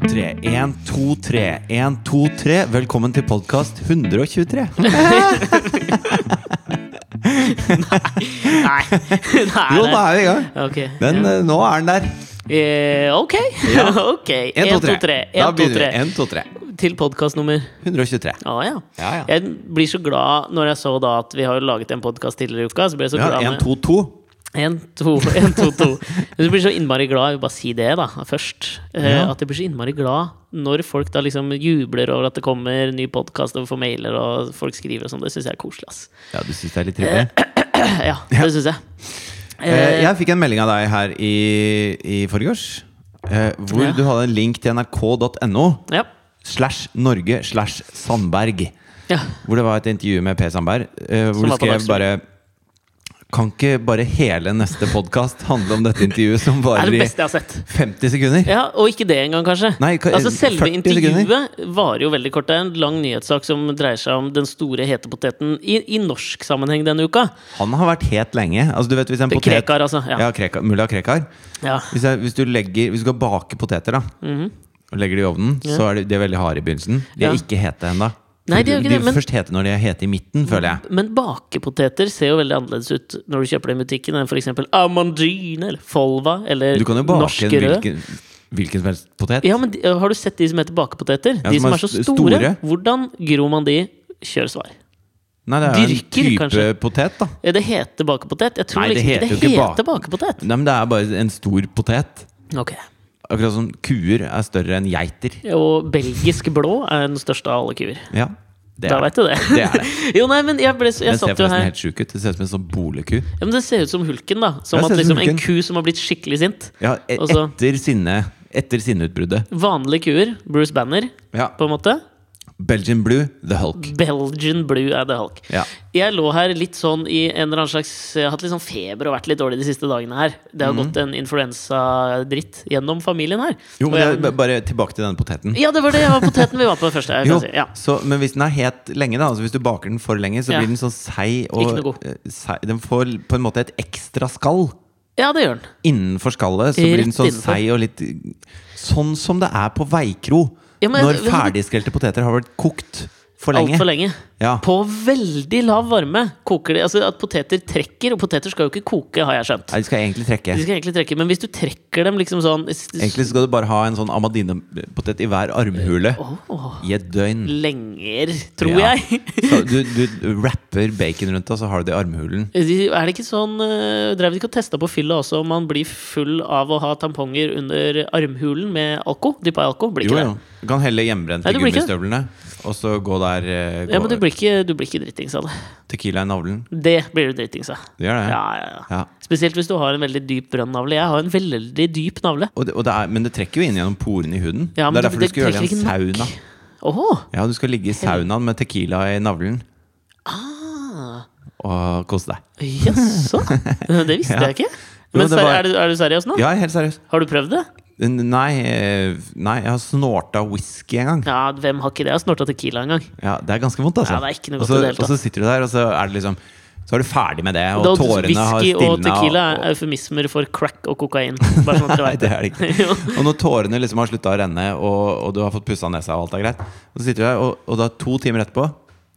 1, 2, 3. 1, 2, 3. Velkommen til podkast 123. Nei. Nei. Jo, da er vi i gang. Ok. Den, ja. eh, nå er den der. eh, ok. ok. 1, 2, 3. 1, Da 2, begynner 3. vi. 1, 2, 3. Til podkastnummer 123. Å ja. Ja, ja. Jeg blir så glad når jeg så da at vi har jo laget en podkast tidligere i uka. Så ble jeg så Vi har 1, glad med 2, 2. 1, 2, 1, 2, 2. Men så blir jeg så innmari glad, jeg vil bare si det da, først. Eh, Ja. At jeg blir så innmari glad når folk da liksom jubler over at det kommer ny podkast og vi får mailer og folk skriver og sånn. Det syns jeg er koselig, ass. Ja, du syns det er litt trivelig? ja, det syns jeg. Eh, Jeg fikk en melding av deg her i, i forgårs. eh, Hvor Ja. du hadde en link til nrk.no Ja. slash Norge slash Sandberg. ja. Hvor det var et intervju med Per Sandberg. eh, hvor Som du var på skrev Dagsrevyen. bare Kan ikke bare hele neste podkast handle om dette intervjuet som Det varer er det i beste jeg har sett. 50 sekunder? Ja, Og ikke det engang, kanskje. Nei, ka- altså Selve 40 sekunder. intervjuet varer jo veldig kort. Det er en lang nyhetssak som dreier seg om den store hetepoteten i, i norsk sammenheng denne uka. Han har vært het lenge. Altså, du vet, hvis en Det er potet Krekar, altså. Ja. Ja, Krekar, Mulla Krekar. Ja. Hvis, jeg, hvis, du legger, hvis du skal bake poteter, da. Og legger det i ovnen, så er de, de er veldig harde i begynnelsen. De er Mhm. Ja. ikke hete ennå. Nei, de er jo ikke de det, men- først hete når de er hete i midten, føler jeg. Men bakepoteter ser jo veldig annerledes ut når du kjøper dem i butikken enn f.eks. Amandine eller Folva eller Du kan jo bake Norske en Rød. hvilken, hvilken som helst potet. Ja, men de, Har du sett de som heter bakepoteter? Ja, de som som er er så st- store. store. Hvordan gror man de? Kjør svar. Nei, det er jo en Dyrker, type kanskje. potet, da. Eh, Det heter bakepotet. Jeg tror Nei, det liksom heter jo ikke det ikke bak- heter bakepotet. Nei, men det er bare en stor potet. Ok Akkurat som kuer er større enn geiter. Og belgisk blå er den største av alle kuer. Ja, det Da er det. veit du det. Det er det. jo, nei, men jeg, ble, så- jeg Den ser satt jo forresten her helt sjuk ut. Det ser ut som en sånn boleku. ja, men Det ser ut som hulken, da. Som Ja, at det ser ut som liksom, en Hulken. ku som har blitt skikkelig sint. Ja, e- Og så- etter, sinne, etter sinneutbruddet. Vanlige kuer, Bruce Banner, Ja. på en måte. Belgian Blue, The Hulk. Belgian Blue er The Hulk. Ja. Jeg lå her litt sånn i en eller annen slags Jeg har hatt litt sånn feber og vært litt dårlig de siste dagene her. Det Mhm. har gått en influensadritt gjennom familien her. Jo, men Og det jeg- er, ba- Bare tilbake til denne poteten. ja, det var det var poteten vi var på først. Jeg kan Jo, si. ja. så, men hvis den er het lenge, da altså Hvis du baker den for lenge, så Ja. blir den sånn seig. Ikke noe Og, god. eh, seig den får på en måte et ekstra skall. ja, det gjør den. Innenfor skallet så blir den Rett sånn innenfor. seig og litt Sånn som det er på veikro. Ja, men- når ferdigskrelte poteter har vært kokt for lenge. Altfor lenge. Ja. På veldig lav varme koker de. Altså at poteter trekker, og poteter skal jo ikke koke, har jeg skjønt. Nei, de skal egentlig trekke. De skal egentlig trekke, men hvis du trekker dem liksom sånn s- s- Egentlig skal du bare ha en sånn amadinepotet i hver armhule Åh, i et døgn. Lenger, tror Ja. jeg. Så du, du rapper bacon rundt, og så har du det i armhulen. De- Er det ikke sånn eh, Drev de ikke og testa på fylla også om man blir full av å ha tamponger under armhulen med alko? Dyppa i alko? Blir Jo, ikke jo. Du kan helle hjemmebrent i Nei, du blir ikke det. gummistøvlene, og så gå der eh, det? Ja, gå men du blir ikke, du blir ikke dritings av det. Tequila i navlen. Det blir du dritings av. Det gjør det. Ja, ja, ja. Ja. Spesielt hvis du har en veldig dyp brønnnavle. Jeg har en veldig dyp navle. Og det, og det er, men det trekker jo inn gjennom porene i huden. Ja, men det er derfor du det- det skal gjøre det i en trekker ikke sauna. nok. Åh Ja, Du skal ligge i saunaen med tequila i navlen Ah, og kose deg. Jaså? Det visste Ja. jeg ikke. Jo, Men det ser- var- er, du, er du seriøs nå? Ja, helt seriøst. Har du prøvd det? N- Nei, eh, nei jeg har snorta whisky en gang. Ja, Hvem har ikke det? Jeg har snorta Tequila en gang. Ja, Det er ganske vondt, altså. Ja, det er ikke noe og, godt så, i det hele og så sitter du der, og så er det liksom Så er du ferdig med det, og Da- tårene har Whisky og stilna. tequila og- er eufemismer for crack og kokain. Bare sånn at dere Nei, vet det er det ikke. Jo. Og når tårene liksom har slutta å renne, og, og du har fått pussa nesa, og alt er greit Og så sitter du der, og, og da to timer etterpå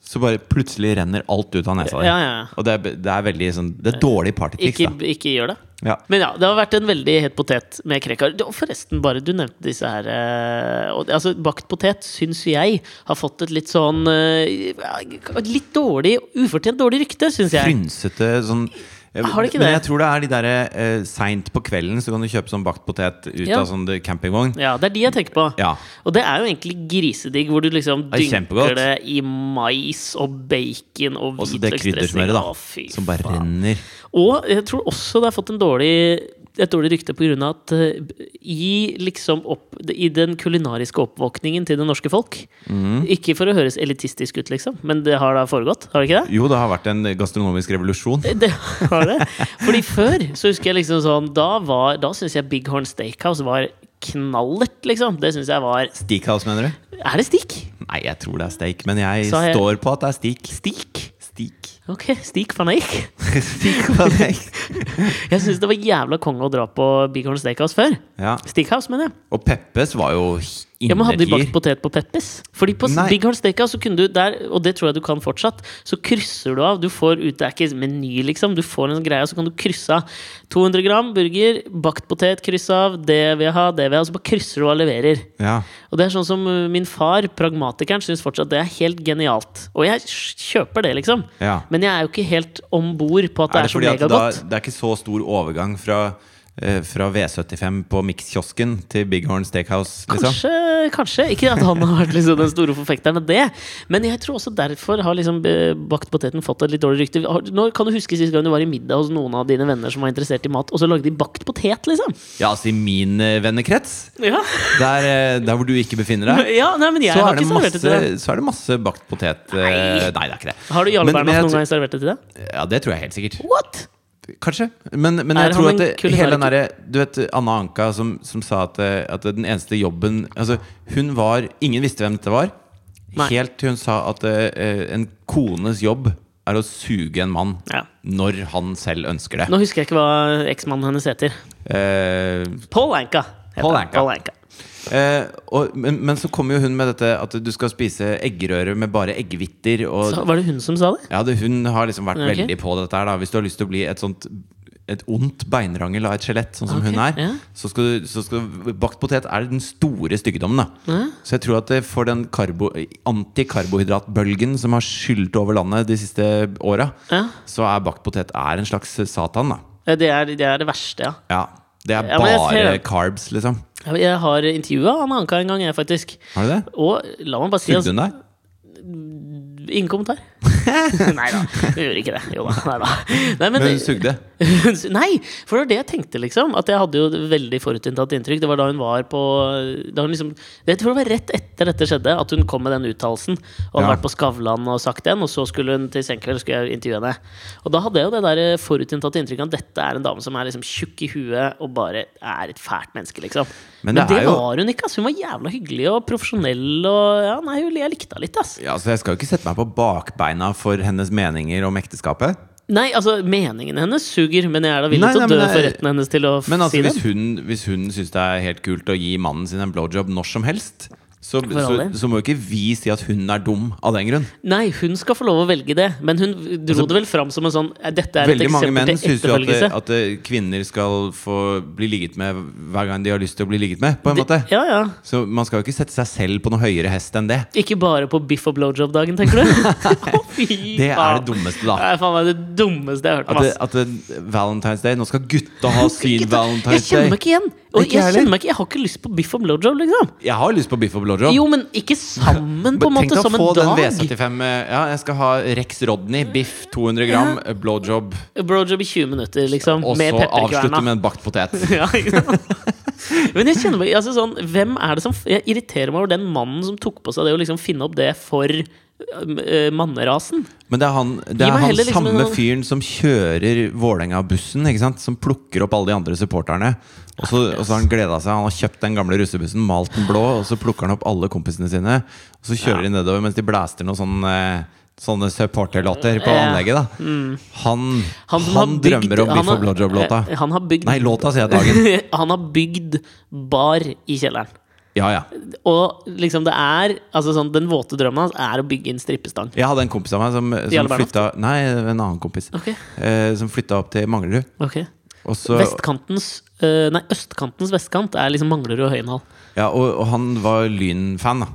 så bare plutselig renner alt ut av nesa di. Ja, ja, ja. Og det er, det er veldig sånn Det er dårlig partytriks, Ikke, ikke gjør det. da. Ja. Men ja, det har vært en veldig het potet med krekar. Du, Forresten, bare du nevnte disse her eh, og, Altså, bakt potet syns jeg har fått et litt sånn eh, ja, Litt dårlig, ufortjent dårlig rykte, syns jeg. Frynsete sånn Har det ikke Men det? jeg tror det er de derre eh, seint på kvelden så kan du kjøpe sånn bakt potet ut Ja. av sånn det- campingvogn. Ja, det er de jeg tenker på. Ja. Og det er jo egentlig grisedigg, hvor du liksom Det er dynker kjempegodt. det i mais og bacon og Og så det hvitløksdressing. kryddersmøret, da. Å, fy Som bare faen. renner. Og jeg tror også det har fått en dårlig, et dårlig rykte pga. at eh, i, liksom opp, i den kulinariske oppvåkningen til det norske folk Mhm. Ikke for å høres elitistisk ut, liksom, men det har da foregått? Har det ikke det? Jo, det har vært en gastronomisk revolusjon. Det har det. Fordi før så husker jeg liksom sånn Da, var- da syns jeg Big Horn Steakhouse var knallert, liksom. Det syns jeg var Steakhouse, mener du? Er det stikk? Nei, jeg tror det er steak, men jeg, Så har jeg- står på at det er steak. Steak? Steak. Ok, stikk faen jeg gikk. steak på steak. Jeg syns det var jævla konge å dra på Big Horn Steakhouse før. Ja. Steakhouse, mener jeg. Og Peppes var jo Ja, men hadde de bakt Innertier. potet på Peppes? Fordi på Nei. Big Hard Steakhouse så kunne du der, og det tror jeg du kan fortsatt, så krysser du av. Du får ut, det er ikke meny, liksom. Du får en sånn greie, og så kan du krysse av. 200 gram burger, bakt potet, kryss av. Det vil jeg ha, det vil jeg ha. Så bare krysser du og leverer. Ja. Og det er sånn som uh, min far, pragmatikeren, syns fortsatt det er helt genialt. Og jeg sj- kjøper det, liksom. ja. Men jeg er jo ikke helt om bord på at det Er er, det så fordi at da, megagodt. det er ikke så stor overgang fra, eh, fra V75 på Mix-kiosken til Big Horn Steakhouse? Liksom? Kanskje, kanskje. Ikke at han har vært liksom den store forfekteren av det. Men jeg tror også derfor har liksom eh, bakt poteten fått et litt dårlig rykte. Har- Nå kan du huske sist gang du var i middag hos noen av dine venner som var interessert i mat, og så lagde de bakt potet, liksom? Ja, altså i min eh, vennekrets, Ja, der, eh, der hvor du ikke befinner deg, ja nei, men jeg så er, har det ikke servert det masse, til deg. så er det masse bakt potet eh, Nei. Nei, det er ikke det. Har du Jarle Men- men Bernhoft jeg noen tr- gang servert det til deg? Ja, det tror jeg helt sikkert. What? Kanskje. Men, men jeg Er tror han at en det, hele den kulinariker? derre Du vet Anna Anka som, som sa at, eh, at den eneste jobben Altså, hun var Ingen visste hvem dette var. Nei. Helt til hun sa at eh, en kones jobb er å suge en mann Ja. når han selv ønsker det. Nå husker jeg ikke hva eksmannen hennes heter. Eh, Paul Anka. heter Paul han. Anka. eh, og, men, men så kommer jo hun med dette at du skal spise eggerøre med bare eggehviter. Og Så, var det hun som sa det? Ja, det, hun har liksom vært Ok. veldig på dette her da Hvis du har lyst til å bli et sånt Et ondt beinrangel av et skjelett Sånn som Ok, hun er ja. så, skal du, så skal du Bakt potet er den store styggedommen da Så jeg tror at det for den karbo, antikarbohydratbølgen Som har skyldt over landet de siste årene Ja. Så er bakt potet er en slags satan da Ja, Eh, Det er det, er det verste, ja. Ja det er Ja, men jeg ser bare det. carbs liksom Jeg har intervjua Anna Anka en gang, jeg, faktisk. Har du det? Og la meg bare si Sugde altså, hun deg? Ingen kommentar. nei da, hun gjør ikke det. Jo da. Nei da. Nei, men, Men hun sugde nei, for det var det jeg tenkte, liksom. At jeg hadde jo et veldig forutinntatt inntrykk. Det var da hun var på da hun liksom, Jeg tror det var rett etter dette skjedde, at hun kom med den uttalelsen. Og hadde Ja. vært på Skavlan og sagt den, og så skulle hun til Senkveld skulle jeg intervjue henne. Og da hadde jeg jo det der eh, forutinntatte inntrykket at dette er en dame som er liksom tjukk i huet og bare er et fælt menneske, liksom. Men Men, det det, er jo- var hun ikke, ass. Hun var jævla hyggelig og profesjonell og Ja, nei, hun- jeg likte henne litt, ass. ja, så jeg skal jo ikke sette meg på bakbeina for hennes meninger om ekteskapet Nei, altså, meningen hennes suger, men jeg er da villig Nei, til å nei, men dø for det- retten hennes til å f- Men altså, si det. hvis hun, hvis hun syns det er helt kult å gi mannen sin en blowjob når som helst, så, For så, all del. så må jo ikke vi si at hun er dum av den grunn. Nei, hun skal få lov å velge det, men hun dro det vel fram som en sånn eh, Dette Altså, er et Veldig mange menn eksempel til syns jo at, etterfølgelse. at eh, kvinner skal få bli ligget med hver gang de har lyst til å bli ligget med, på en måte. Ja, ja. Så man skal jo ikke sette seg selv på noe høyere hest enn det. Ikke bare på biff og blowjob-dagen, tenker du? Å, fy Det er det faen. dummeste, Det da. er faen meg det dummeste jeg har hørt At, om. det, ass. at det, Valentine's Day Nå skal gutta ha sin Gutta, Jeg Valentine's Day. kjenner meg ikke igjen. Og Ikke jeg heller. kjenner meg ikke Jeg har ikke lyst på biff og blowjob, liksom. Jeg har lyst på biff og blowjob. Jo, men ikke sammen, på en Men måte. Tenk Som deg å en få den dag. V75 eh, Ja, jeg skal ha Rex Rodney, biff 200 gram, eh, blowjob Blowjob i 20 minutter, liksom. Og Med så avslutte pepperkverna. med en bakt potet. Ja, ikke sant? Men jeg kjenner meg altså sånn, Hvem er det som Jeg irriterer meg over den mannen som tok på seg det å liksom finne opp det for øhm, øh, mannerasen. Men det er han, det Gi er meg han heller liksom samme en- fyren som kjører Vålerenga-bussen. ikke sant? Som plukker opp alle de andre supporterne. Og så, og så har han gleda seg. Han har kjøpt den gamle russebussen, malt den blå, og så plukker han opp alle kompisene sine. Og så kjører de nedover mens de blaster noen sånne, sånne supporterlåter på Ja. Mm. anlegget. da Han, Han han, som har bygd- drømmer om Biff og han har- blowjob-låta. eh, Han har bygd Nei, låta, sier jeg. Dagen. Han har bygd bar i kjelleren. Ja, ja. Og liksom det er altså sånn, Den våte drømmen hans er å bygge en strippestang. Jeg hadde en kompis av meg som, som Jarle Bernhoft? flytta Nei, en annen kompis. Ok. Eh, som flytta opp til Manglerud. ok Og så, Vestkantens øh, Nei, østkantens vestkant er liksom Manglerud og Høyenhall. Ja, og, og han var Lyn-fan, da.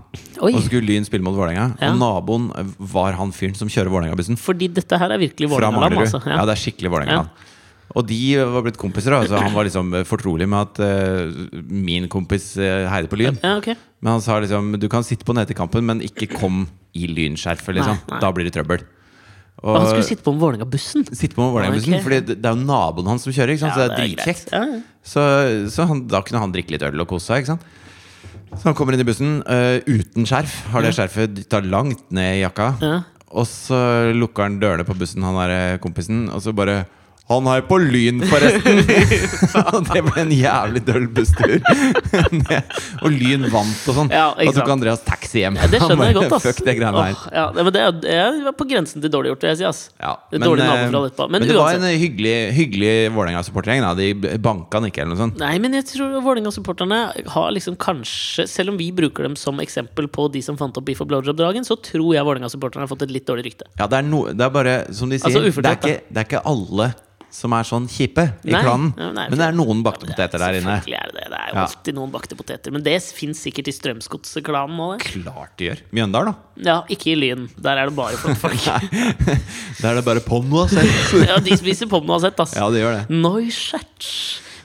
Oi. Og så skulle Lyn spille mot Vålerenga. Ja. Og naboen eh, var han fyren som kjører Vålerenga-bussen Fordi dette her er virkelig fra Vålerenga-land, Manglerud. altså. ja. det er skikkelig Vålerenga-land. Og de eh, var blitt kompiser, da. Så han var liksom fortrolig med at eh, min kompis eh, heide på Lyn. ja ok Men han sa liksom du kan sitte på netekampen, men ikke kom i lynskjerfet, liksom. Nei, nei. Da blir det trøbbel. Og, Og han skulle sitte på med Vålerenga-bussen. sitte på med Vålerenga-bussen, Ok. Fordi det- det er jo naboen hans som kjører, ikke sant? så Altså, det er dritkjekt. greit. Ja, ja. Så, så han, da kunne han drikke litt øl og kose seg. ikke sant? Så han kommer inn i bussen eh, uten skjerf. Har det skjerfet dytta langt ned i jakka. Ja. Og så lukker han dørene på bussen, han der eh, kompisen, og så bare Han heier på Lyn, forresten! Og det ble en jævlig døll busstur. Det- og Lyn vant og sånn. Ja, ikke og tok sant. Andreas taxi hjem. Ja, det Han skjønner jeg bare, godt, ass. Fuck det greiene her. Åh, ja, nei, men det er, det er på grensen til dårlig gjort, vil jeg si, ass. Ja, Det er dårlig eh, nabo fra etterpå. Men men det var en uansett. hyggelig, hyggelig Vålerenga-supportergjeng. da. De banka han ikke, eller noe sånt. Nei, men jeg tror Vålerenga-supporterne har liksom kanskje Selv om vi bruker dem som eksempel på de som fant opp Beef og Blowjob-dragen, så tror jeg Vålerenga-supporterne har fått et litt dårlig rykte. Ja, det er, no, det er bare, som de sier, Altså, det, er ufortjent, ikke, det er ikke alle som er sånn kjipe i Nei, klanen. ja, nei, men det er noen bakte poteter der inne. Selvfølgelig er det det. Det er jo Ja. alltid noen bakte poteter. Men det fins sikkert i Strømsgodsklanen nå, det. Klart de gjør. Mjøndalen, da. Ja, ikke i Lyn. Der er det bare flotte folk. Der er det bare Ponno, altså. ja, de spiser pommes uansett, ass. Ja, det gjør det. Neuschatz.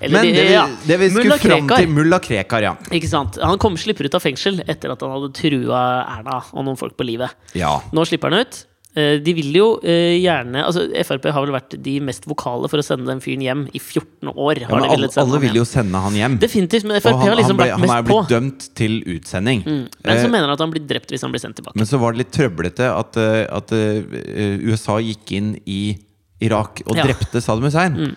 Eller Men de- det vi, ja, det vi skulle mulla fram Krekar. til Mulla Krekar, ja. Ikke sant? Han kom slipper ut av fengsel etter at han hadde trua Erna og noen folk på livet. Ja. Nå slipper han ut. Eh, De vil jo eh, gjerne altså Frp har vel vært de mest vokale for å sende den fyren hjem i 14 år. ja Har men de alle, villet sende alle han vil hjem. jo sende han hjem. Definitivt, men Og Frp han, har han, liksom ble, vært han er mest på. Mm. blitt eh. dømt til utsending. Men Eh, så mener han at han blir drept hvis han blir sendt tilbake. Men så var det litt trøblete at, eh, at eh, USA gikk inn i Irak og Ja. Mm. drepte Saddam Hussein.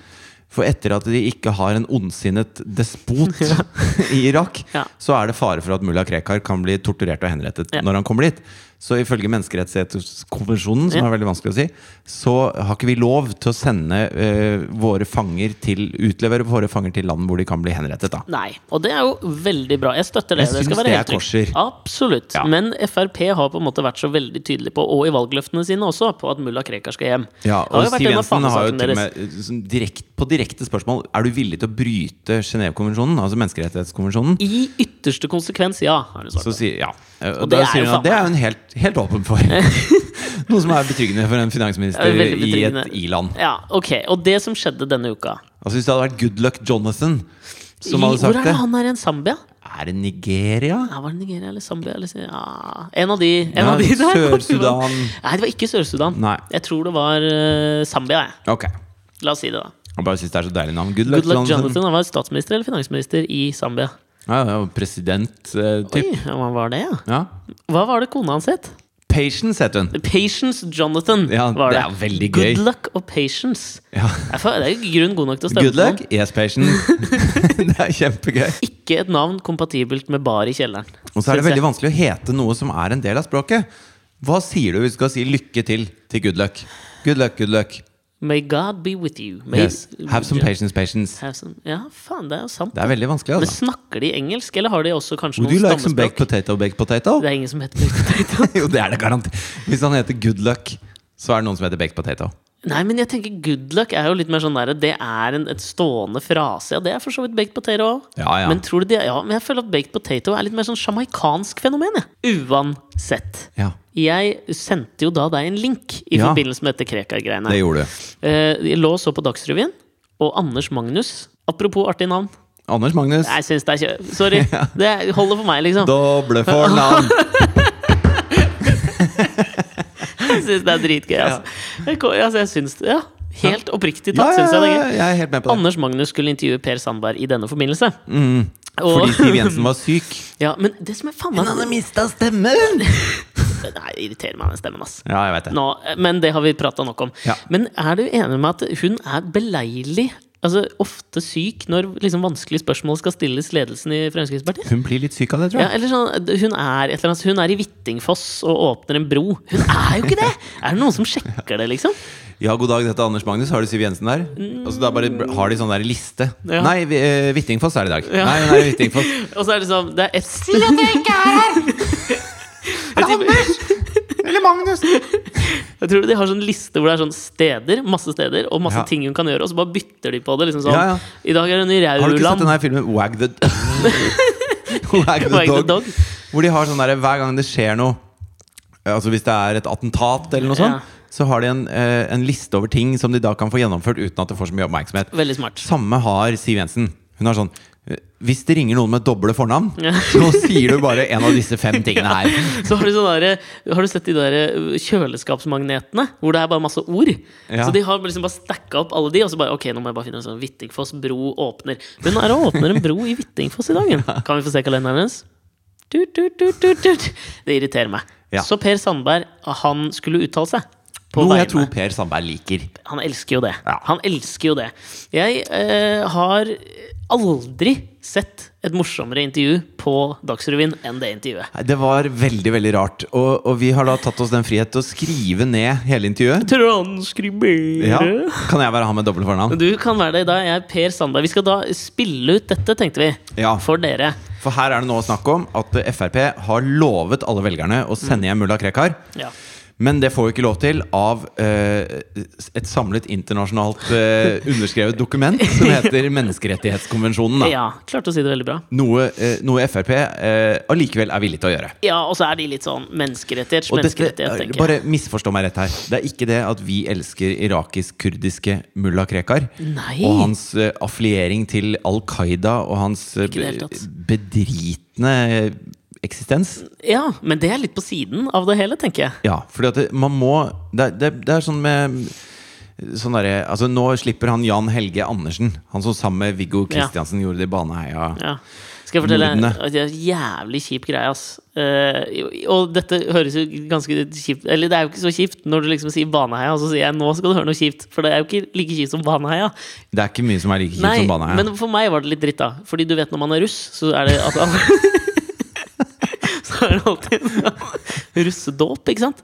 For etter at de ikke har en ondsinnet despot i Irak, Ja. så er det fare for at mulla Krekar kan bli torturert og henrettet Ja. når han kommer dit. Så ifølge menneskerettighetskonvensjonen, som Ja. er veldig vanskelig å si, så har ikke vi lov til å sende eh, våre fanger til utlevere våre fanger til land hvor de kan bli henrettet. da Nei, og det er jo veldig bra. Jeg støtter det. Jeg det syns skal være det helt er trygt. korser. Absolutt. Ja. Men Frp har på en måte vært så veldig tydelig på, og i valgløftene sine også, på at mulla Krekar skal hjem. Ja, Det har og jo vært Siv en av Jensen har jo fanesakene til og deres. med eh, sånn direkt, på direkte spørsmål Er du villig til å bryte Genévekonvensjonen, altså menneskerettighetskonvensjonen. I ytterste konsekvens, ja, har hun svart. Så sier, ja. Eh, Og Og da det er jo sier hun faen at det er hun helt, helt åpen for. Noe som er betryggende for en Ja, finansminister veldig i et betryggende. i-land. Ja, ok. Og det som skjedde denne uka Altså Hvis det hadde vært Good Luck Jonathan som I, hadde Hvor sagt er det det han er igjen? Zambia? Er det Nigeria? Ja, var det Nigeria eller Zambia? Eller, ja. En av de. En Ja, av de der. Sør-Sudan. Nei, det var ikke Sør-Sudan. Nei. Jeg tror det var eh, Zambia. jeg. Ok. La oss si det, da. Jeg bare syns det er så deilig navn. Good Luck, Good luck Jonathan. Jonathan. Han var statsminister eller finansminister i Zambia. Ja, ja, President-type. Oi, hva var det, ja? ja. Hva var det kona hans het? Patience het hun. Patience Jonathan. Ja, var det er veldig gøy. Good luck og patience. Ja. Det er fa- det er jo grunn god nok til å stemme Good på luck, noen. yes, patience. det er kjempegøy. Ikke et navn kompatibelt med bar i kjelleren. Og så er det synes jeg. veldig vanskelig å hete noe som er en del av språket. Hva sier du hvis du skal si lykke til til good luck? Good luck, good luck. May God be with you. May Yes. Have some patience, patience. Have some- Ja, faen, det er jo sant. Det er veldig vanskelig, Men altså. snakker de engelsk, eller har de også kanskje Would you noen like some baked stammespråk? potato, baked potato? Det er ingen som heter baked potato. jo, det er det garantert. Hvis han heter good luck, så er det noen som heter baked potato. Nei, men jeg tenker good luck er jo litt mer sånn der Det er en et stående frase. Ja, det er for så vidt baked potato òg. Ja, ja. Men tror du det, ja, men jeg føler at baked potato er litt mer sånn sjamaikansk fenomen. Jeg. Uansett. Ja, Jeg sendte jo da deg en link i Ja. forbindelse med dette Krekar-greiene. det gjorde du. Eh, jeg lå og så på Dagsrevyen, og Anders Magnus Apropos artig navn. Anders Magnus, Jeg syns det er kjø... Sorry. Det holder for meg, liksom. doble fornavn. Jeg syns det er dritgøy. Altså. Jeg, ko- altså, jeg syns det, ja. Helt oppriktig Ja, tatt, ja, syns jeg det er ja, gøy. jeg er helt med på det. Anders Magnus skulle intervjue Per Sandberg i denne forbindelse. Og, Fordi Siv Jensen var syk. ja, men det som er faen meg Nei, mista stemmen! det irriterer meg den stemmen, ass. Ja, jeg vet det. Nå, men det har vi prata nok om. Ja. Men er du enig med at hun er beleilig? Altså ofte syk når liksom, vanskelige spørsmål skal stilles ledelsen i Fremskrittspartiet? Hun blir litt syk av det, tror Ja, jeg. eller sånn, hun, er et eller annet, hun er i Hvittingfoss og åpner en bro. Hun er jo ikke det! Er det noen som sjekker det, liksom? Ja, god dag, dette er Anders Magnus. Har du Siv Jensen der? Altså, da bare har de sånn der liste. Ja. Nei, vi- eh, Hvittingfoss er det i dag. Ja. Nei, nei, Hvittingfoss. Og så er det sånn Det er et Si at jeg ikke er her! Jeg tipper- Eller Magnus! Jeg tror de har sånn liste hvor det er sånn steder, masse steder og masse Ja. ting hun kan gjøre, og så bare bytter de på det. liksom sånn Ja, ja. I dag er hun i Har du ikke sett Rauland. den her filmen Wag the, Wag the, Wag the dog, Dog? Hvor de har sånn der hver gang det skjer noe eh, Altså hvis det er et attentat eller noe Ja. sånt, så har de en, eh, en liste over ting som de da kan få gjennomført uten at det får så mye oppmerksomhet. Veldig smart. Samme har Siv Jensen. Hun har sånn eh, Hvis det ringer noen med doble fornavn, Ja. så sier du bare en av disse fem tingene her. Så har du, sånn der, har du sett de der kjøleskapsmagnetene, hvor det er bare masse ord? Ja. Så de har liksom bare stacka opp alle de, og så bare Ok, nå må jeg bare finne en sånn Hvittingfoss bro åpner. Hun er og åpner en bro i Hvittingfoss i dag. hun. Kan vi få se kalenderen hennes? Tut, tut, tut, tut, tut. Det irriterer meg. Ja. Så Per Sandberg, han skulle uttale seg. på Noe jeg vegne. tror Per Sandberg liker. Han elsker jo det. Ja. Han elsker jo det. Jeg eh, har aldri sett et morsommere intervju på Dagsrevyen enn det intervjuet. Nei, Det var veldig veldig rart. Og, og vi har da tatt oss den frihet til å skrive ned hele intervjuet. Transkribere Ja. Kan jeg være han med doble fornavn? Du kan være det i dag. Jeg er Per Sandberg. Vi skal da spille ut dette, tenkte vi. Ja, For dere. For her er det nå snakk om at Frp har lovet alle velgerne å sende hjem mulla Krekar. Ja. Men det får vi ikke lov til av eh, et samlet internasjonalt eh, underskrevet dokument som heter Menneskerettighetskonvensjonen. Da. ja. Klarte å si det veldig bra. Noe, eh, noe Frp eh, allikevel er villig til å gjøre. Ja, og så er de litt sånn menneskerettighet, Og dette, menneskerettighet, tenker jeg. bare misforstå meg rett her. Det er ikke det at vi elsker irakisk-kurdiske mulla Krekar Nei. og hans eh, affiliering til Al Qaida og hans eh, Ikke i det hele tatt. bedritne eh, eksistens. Ja, men det er litt på siden av det hele, tenker jeg. Ja, fordi at det, man må det, er- det, er- det er sånn med Sånn derre altså Nå slipper han Jan Helge Andersen, han som sammen med Viggo Kristiansen gjorde det i Baneheia. Ja. Skal jeg fortelle Nordene. at det er en jævlig kjip greie, ass. Eh, og dette høres jo ganske kjipt Eller det er jo ikke så kjipt når du liksom sier Baneheia, og så sier jeg nå skal du høre noe kjipt. For det er jo ikke like kjipt som Baneheia. Det er ikke mye som er like kjipt Nei, som Baneheia. men for meg var det litt dritt, da. Fordi du vet når man er russ, så er det at alle Så er det alltid en sånn russedåp, ikke sant?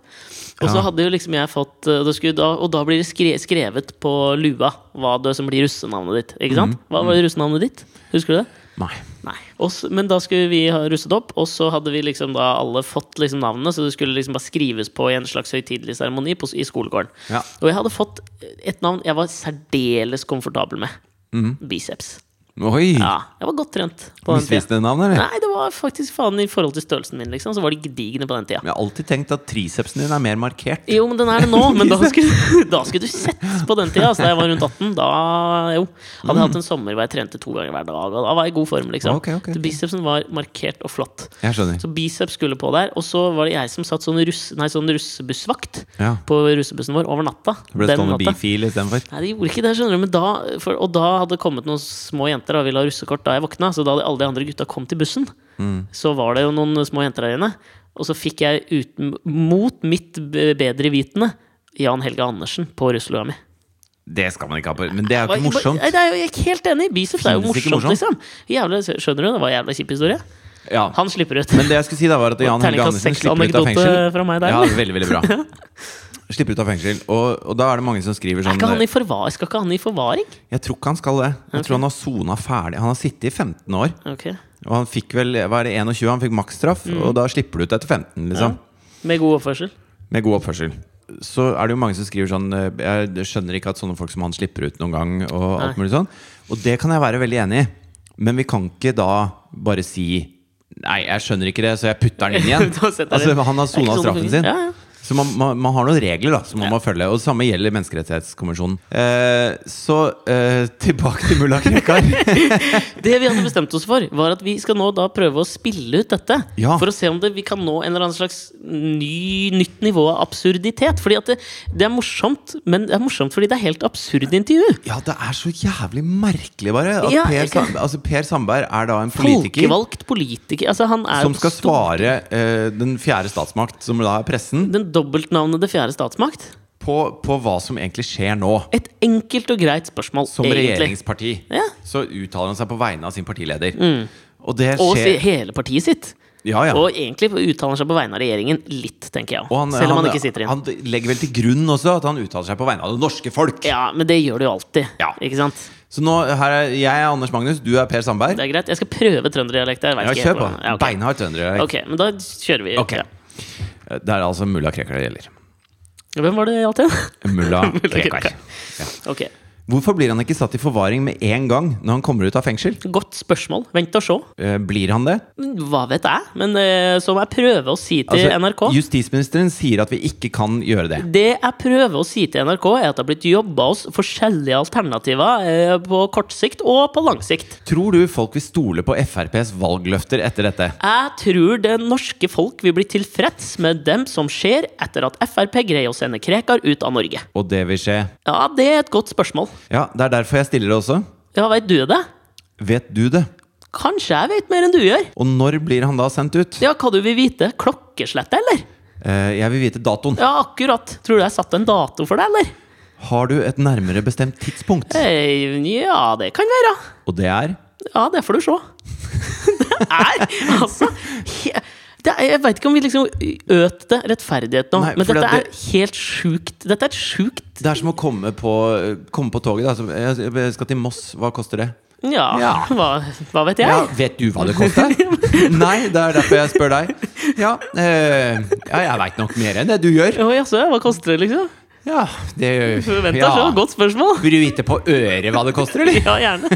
Og så Ja. hadde jo liksom jeg fått eh, da skulle, da, Og da blir det skre, skrevet på lua hva det som blir russenavnet ditt. Ikke sant? Hva var russenavnet ditt? Husker du det? Nei. Nei. Og så- men da skulle vi ha russet opp, og så hadde vi liksom da alle fått liksom navnene, så det skulle liksom bare skrives på i en slags høytidelig seremoni på- i skolegården. Ja. Og jeg hadde fått et navn jeg var særdeles komfortabel med. Mhm. Biceps. Oi! Ja, jeg var godt trent på den tida. Misvisende navn, eller? Nei, det var faktisk faen i forhold til størrelsen min, liksom, så var de gedigne på den tida. Jeg har alltid tenkt at tricepsen din er mer markert. Jo, men den er det nå, men da skulle, da skulle du sett på den tida. Altså, da jeg var rundt 18, da jo. Hadde jeg hatt en sommer hvor jeg trente to ganger hver dag, og da var jeg i god form, liksom. Mm. Ok, ok, ok. Bicepsen var markert og flott. Jeg skjønner. Så biceps skulle på der, og så var det jeg som satt sånn, russ, nei, sånn russebussvakt Ja. på russebussen vår over natta. Det ble Den stående natta. bifil istedenfor. Nei, det gjorde ikke det, skjønner du. Men da, for, og da hadde det kommet noen små jenter og ville ha russekort da jeg våkna. Så da hadde alle de andre gutta kom til bussen, Mm. så var det jo noen små jenter der inne. Og så fikk jeg uten, mot mitt b- bedre vitende Jan Helge Andersen på russelua mi. Det skal man ikke ha på Men det er jo Hva- ikke morsomt. Nei, Det er jo jeg er helt enig. Biceps er jo Finnes ikke morsomt, liksom. morsomt. Jævla, skjønner du? Det var en jævla kjip historie. Ja. Han slipper ut. Men det jeg skulle si da var at Jan Helge Terningkast Andersen seks slipper ut av anekdote fengsel. fra meg der, Ja, eller? veldig, veldig bra Slipper ut av fengsel. Og, og da er det mange som skriver Er sånn ikke han i forvar, skal ikke han i forvaring? Jeg tror ikke han skal det. Jeg tror han har sona ferdig. Han har sittet i 15 år. Ok. Og han fikk vel hva er det, 21, han fikk maksstraff, Mm. og da slipper du ut etter 15, liksom. Med god oppførsel? Med god oppførsel. Så er det jo mange som skriver sånn eh, Jeg skjønner ikke at sånne folk som han slipper ut noen gang. Og alt mulig sånn Og det kan jeg være veldig enig i, men vi kan ikke da bare si Nei, jeg skjønner ikke det, så jeg putter den inn igjen. Da setter jeg altså, den. han har Det er ikke sona sånn det straffen fungerer. sin. Ja, ja. Så man, man, man har noen regler da som man må følge. Og det samme gjelder Menneskerettighetskonvensjonen. Eh, så eh, tilbake til mulla Krekar. Det vi hadde bestemt oss for, var at vi skal nå da prøve å spille ut dette. Ja. For å se om det, vi kan nå en eller annen slags ny, nytt nivå av absurditet. Fordi at det, det er morsomt, men det er morsomt fordi det er helt absurd intervju. Ja, det er så jævlig merkelig, bare. At Ja, per, jeg kan- Sand, altså, per Sandberg er da en politiker Folkevalgt politiker. Altså, han er som jo skal stor- svare eh, den fjerde statsmakt, som da er pressen, Den dobbeltnavnede fjerde statsmakt. på, på hva som egentlig skjer nå. Et enkelt og greit spørsmål, Som egentlig. regjeringsparti. Ja. Mm. Så uttaler han seg på vegne av sin partileder. Og det Og si- skjer hele partiet sitt. Ja, ja. Og egentlig uttaler han seg på vegne av regjeringen litt, tenker jeg. Og også Selv om han, ikke sitter inne. han legger vel til grunn også at han uttaler seg på vegne av det norske folk. Ja, men det gjør du jo alltid. Ja. Ikke sant? Så nå, her er, jeg er Anders Magnus, du er Per Sandberg. Det er greit. Jeg skal prøve trønderdialekt. Jeg vet Ja, ikke kjør helt på. hvordan- Ja, ok. Beinhard trønder. ok, men da kjører vi. Ok. Ja. Det er altså mulla Krekar det gjelder. Hvem var det gjaldt igjen? Mulla Krekar. Krekar. Ja. Ok. Hvorfor blir han ikke satt i forvaring med en gang når han kommer ut av fengsel? Godt spørsmål. Vent og se. Eh, Blir han det? Hva vet jeg? Men eh, så må jeg prøve å si til Altså, NRK Justisministeren sier at vi ikke kan gjøre det. Det jeg prøver å si til NRK, er at det har blitt jobba oss forskjellige alternativer eh, på kort sikt og på lang sikt. Tror du folk vil stole på FrPs valgløfter etter dette? Jeg tror det norske folk vil bli tilfreds med dem som skjer etter at Frp greier å sende Krekar ut av Norge. Og det vil skje. Ja, det er et godt spørsmål. Ja, det er derfor jeg stiller det også. Ja, veit du det? Vet du det? Kanskje jeg vet mer enn du gjør? Og når blir han da sendt ut? Ja, hva du vil vite? Klokkeslett, eller? Eh, jeg vil vite datoen. Ja, akkurat. Tror du jeg satte en dato for deg, eller? Har du et nærmere bestemt tidspunkt? Eh, Ja, det kan være. Og det er Ja, det får du se. Det er altså he- det er, Jeg veit ikke om vi liksom øt det rettferdighet nå, Nei, men fordi dette at er helt sjukt. Dette er et sjukt Det er som å komme på, komme på toget. Da. Så jeg- Jeg skal til Moss, hva koster det? Ja, Ja. Hva, hva vet jeg? Ja, vet du hva det koster? Nei, det er derfor jeg spør deg. Ja, eh, ja jeg veit nok mer enn det du gjør. Å, jaså, hva koster det, liksom? Ja, det Vent da, ja. så. Godt spørsmål. Vil du vite på øret hva det koster, eller? Ja, gjerne.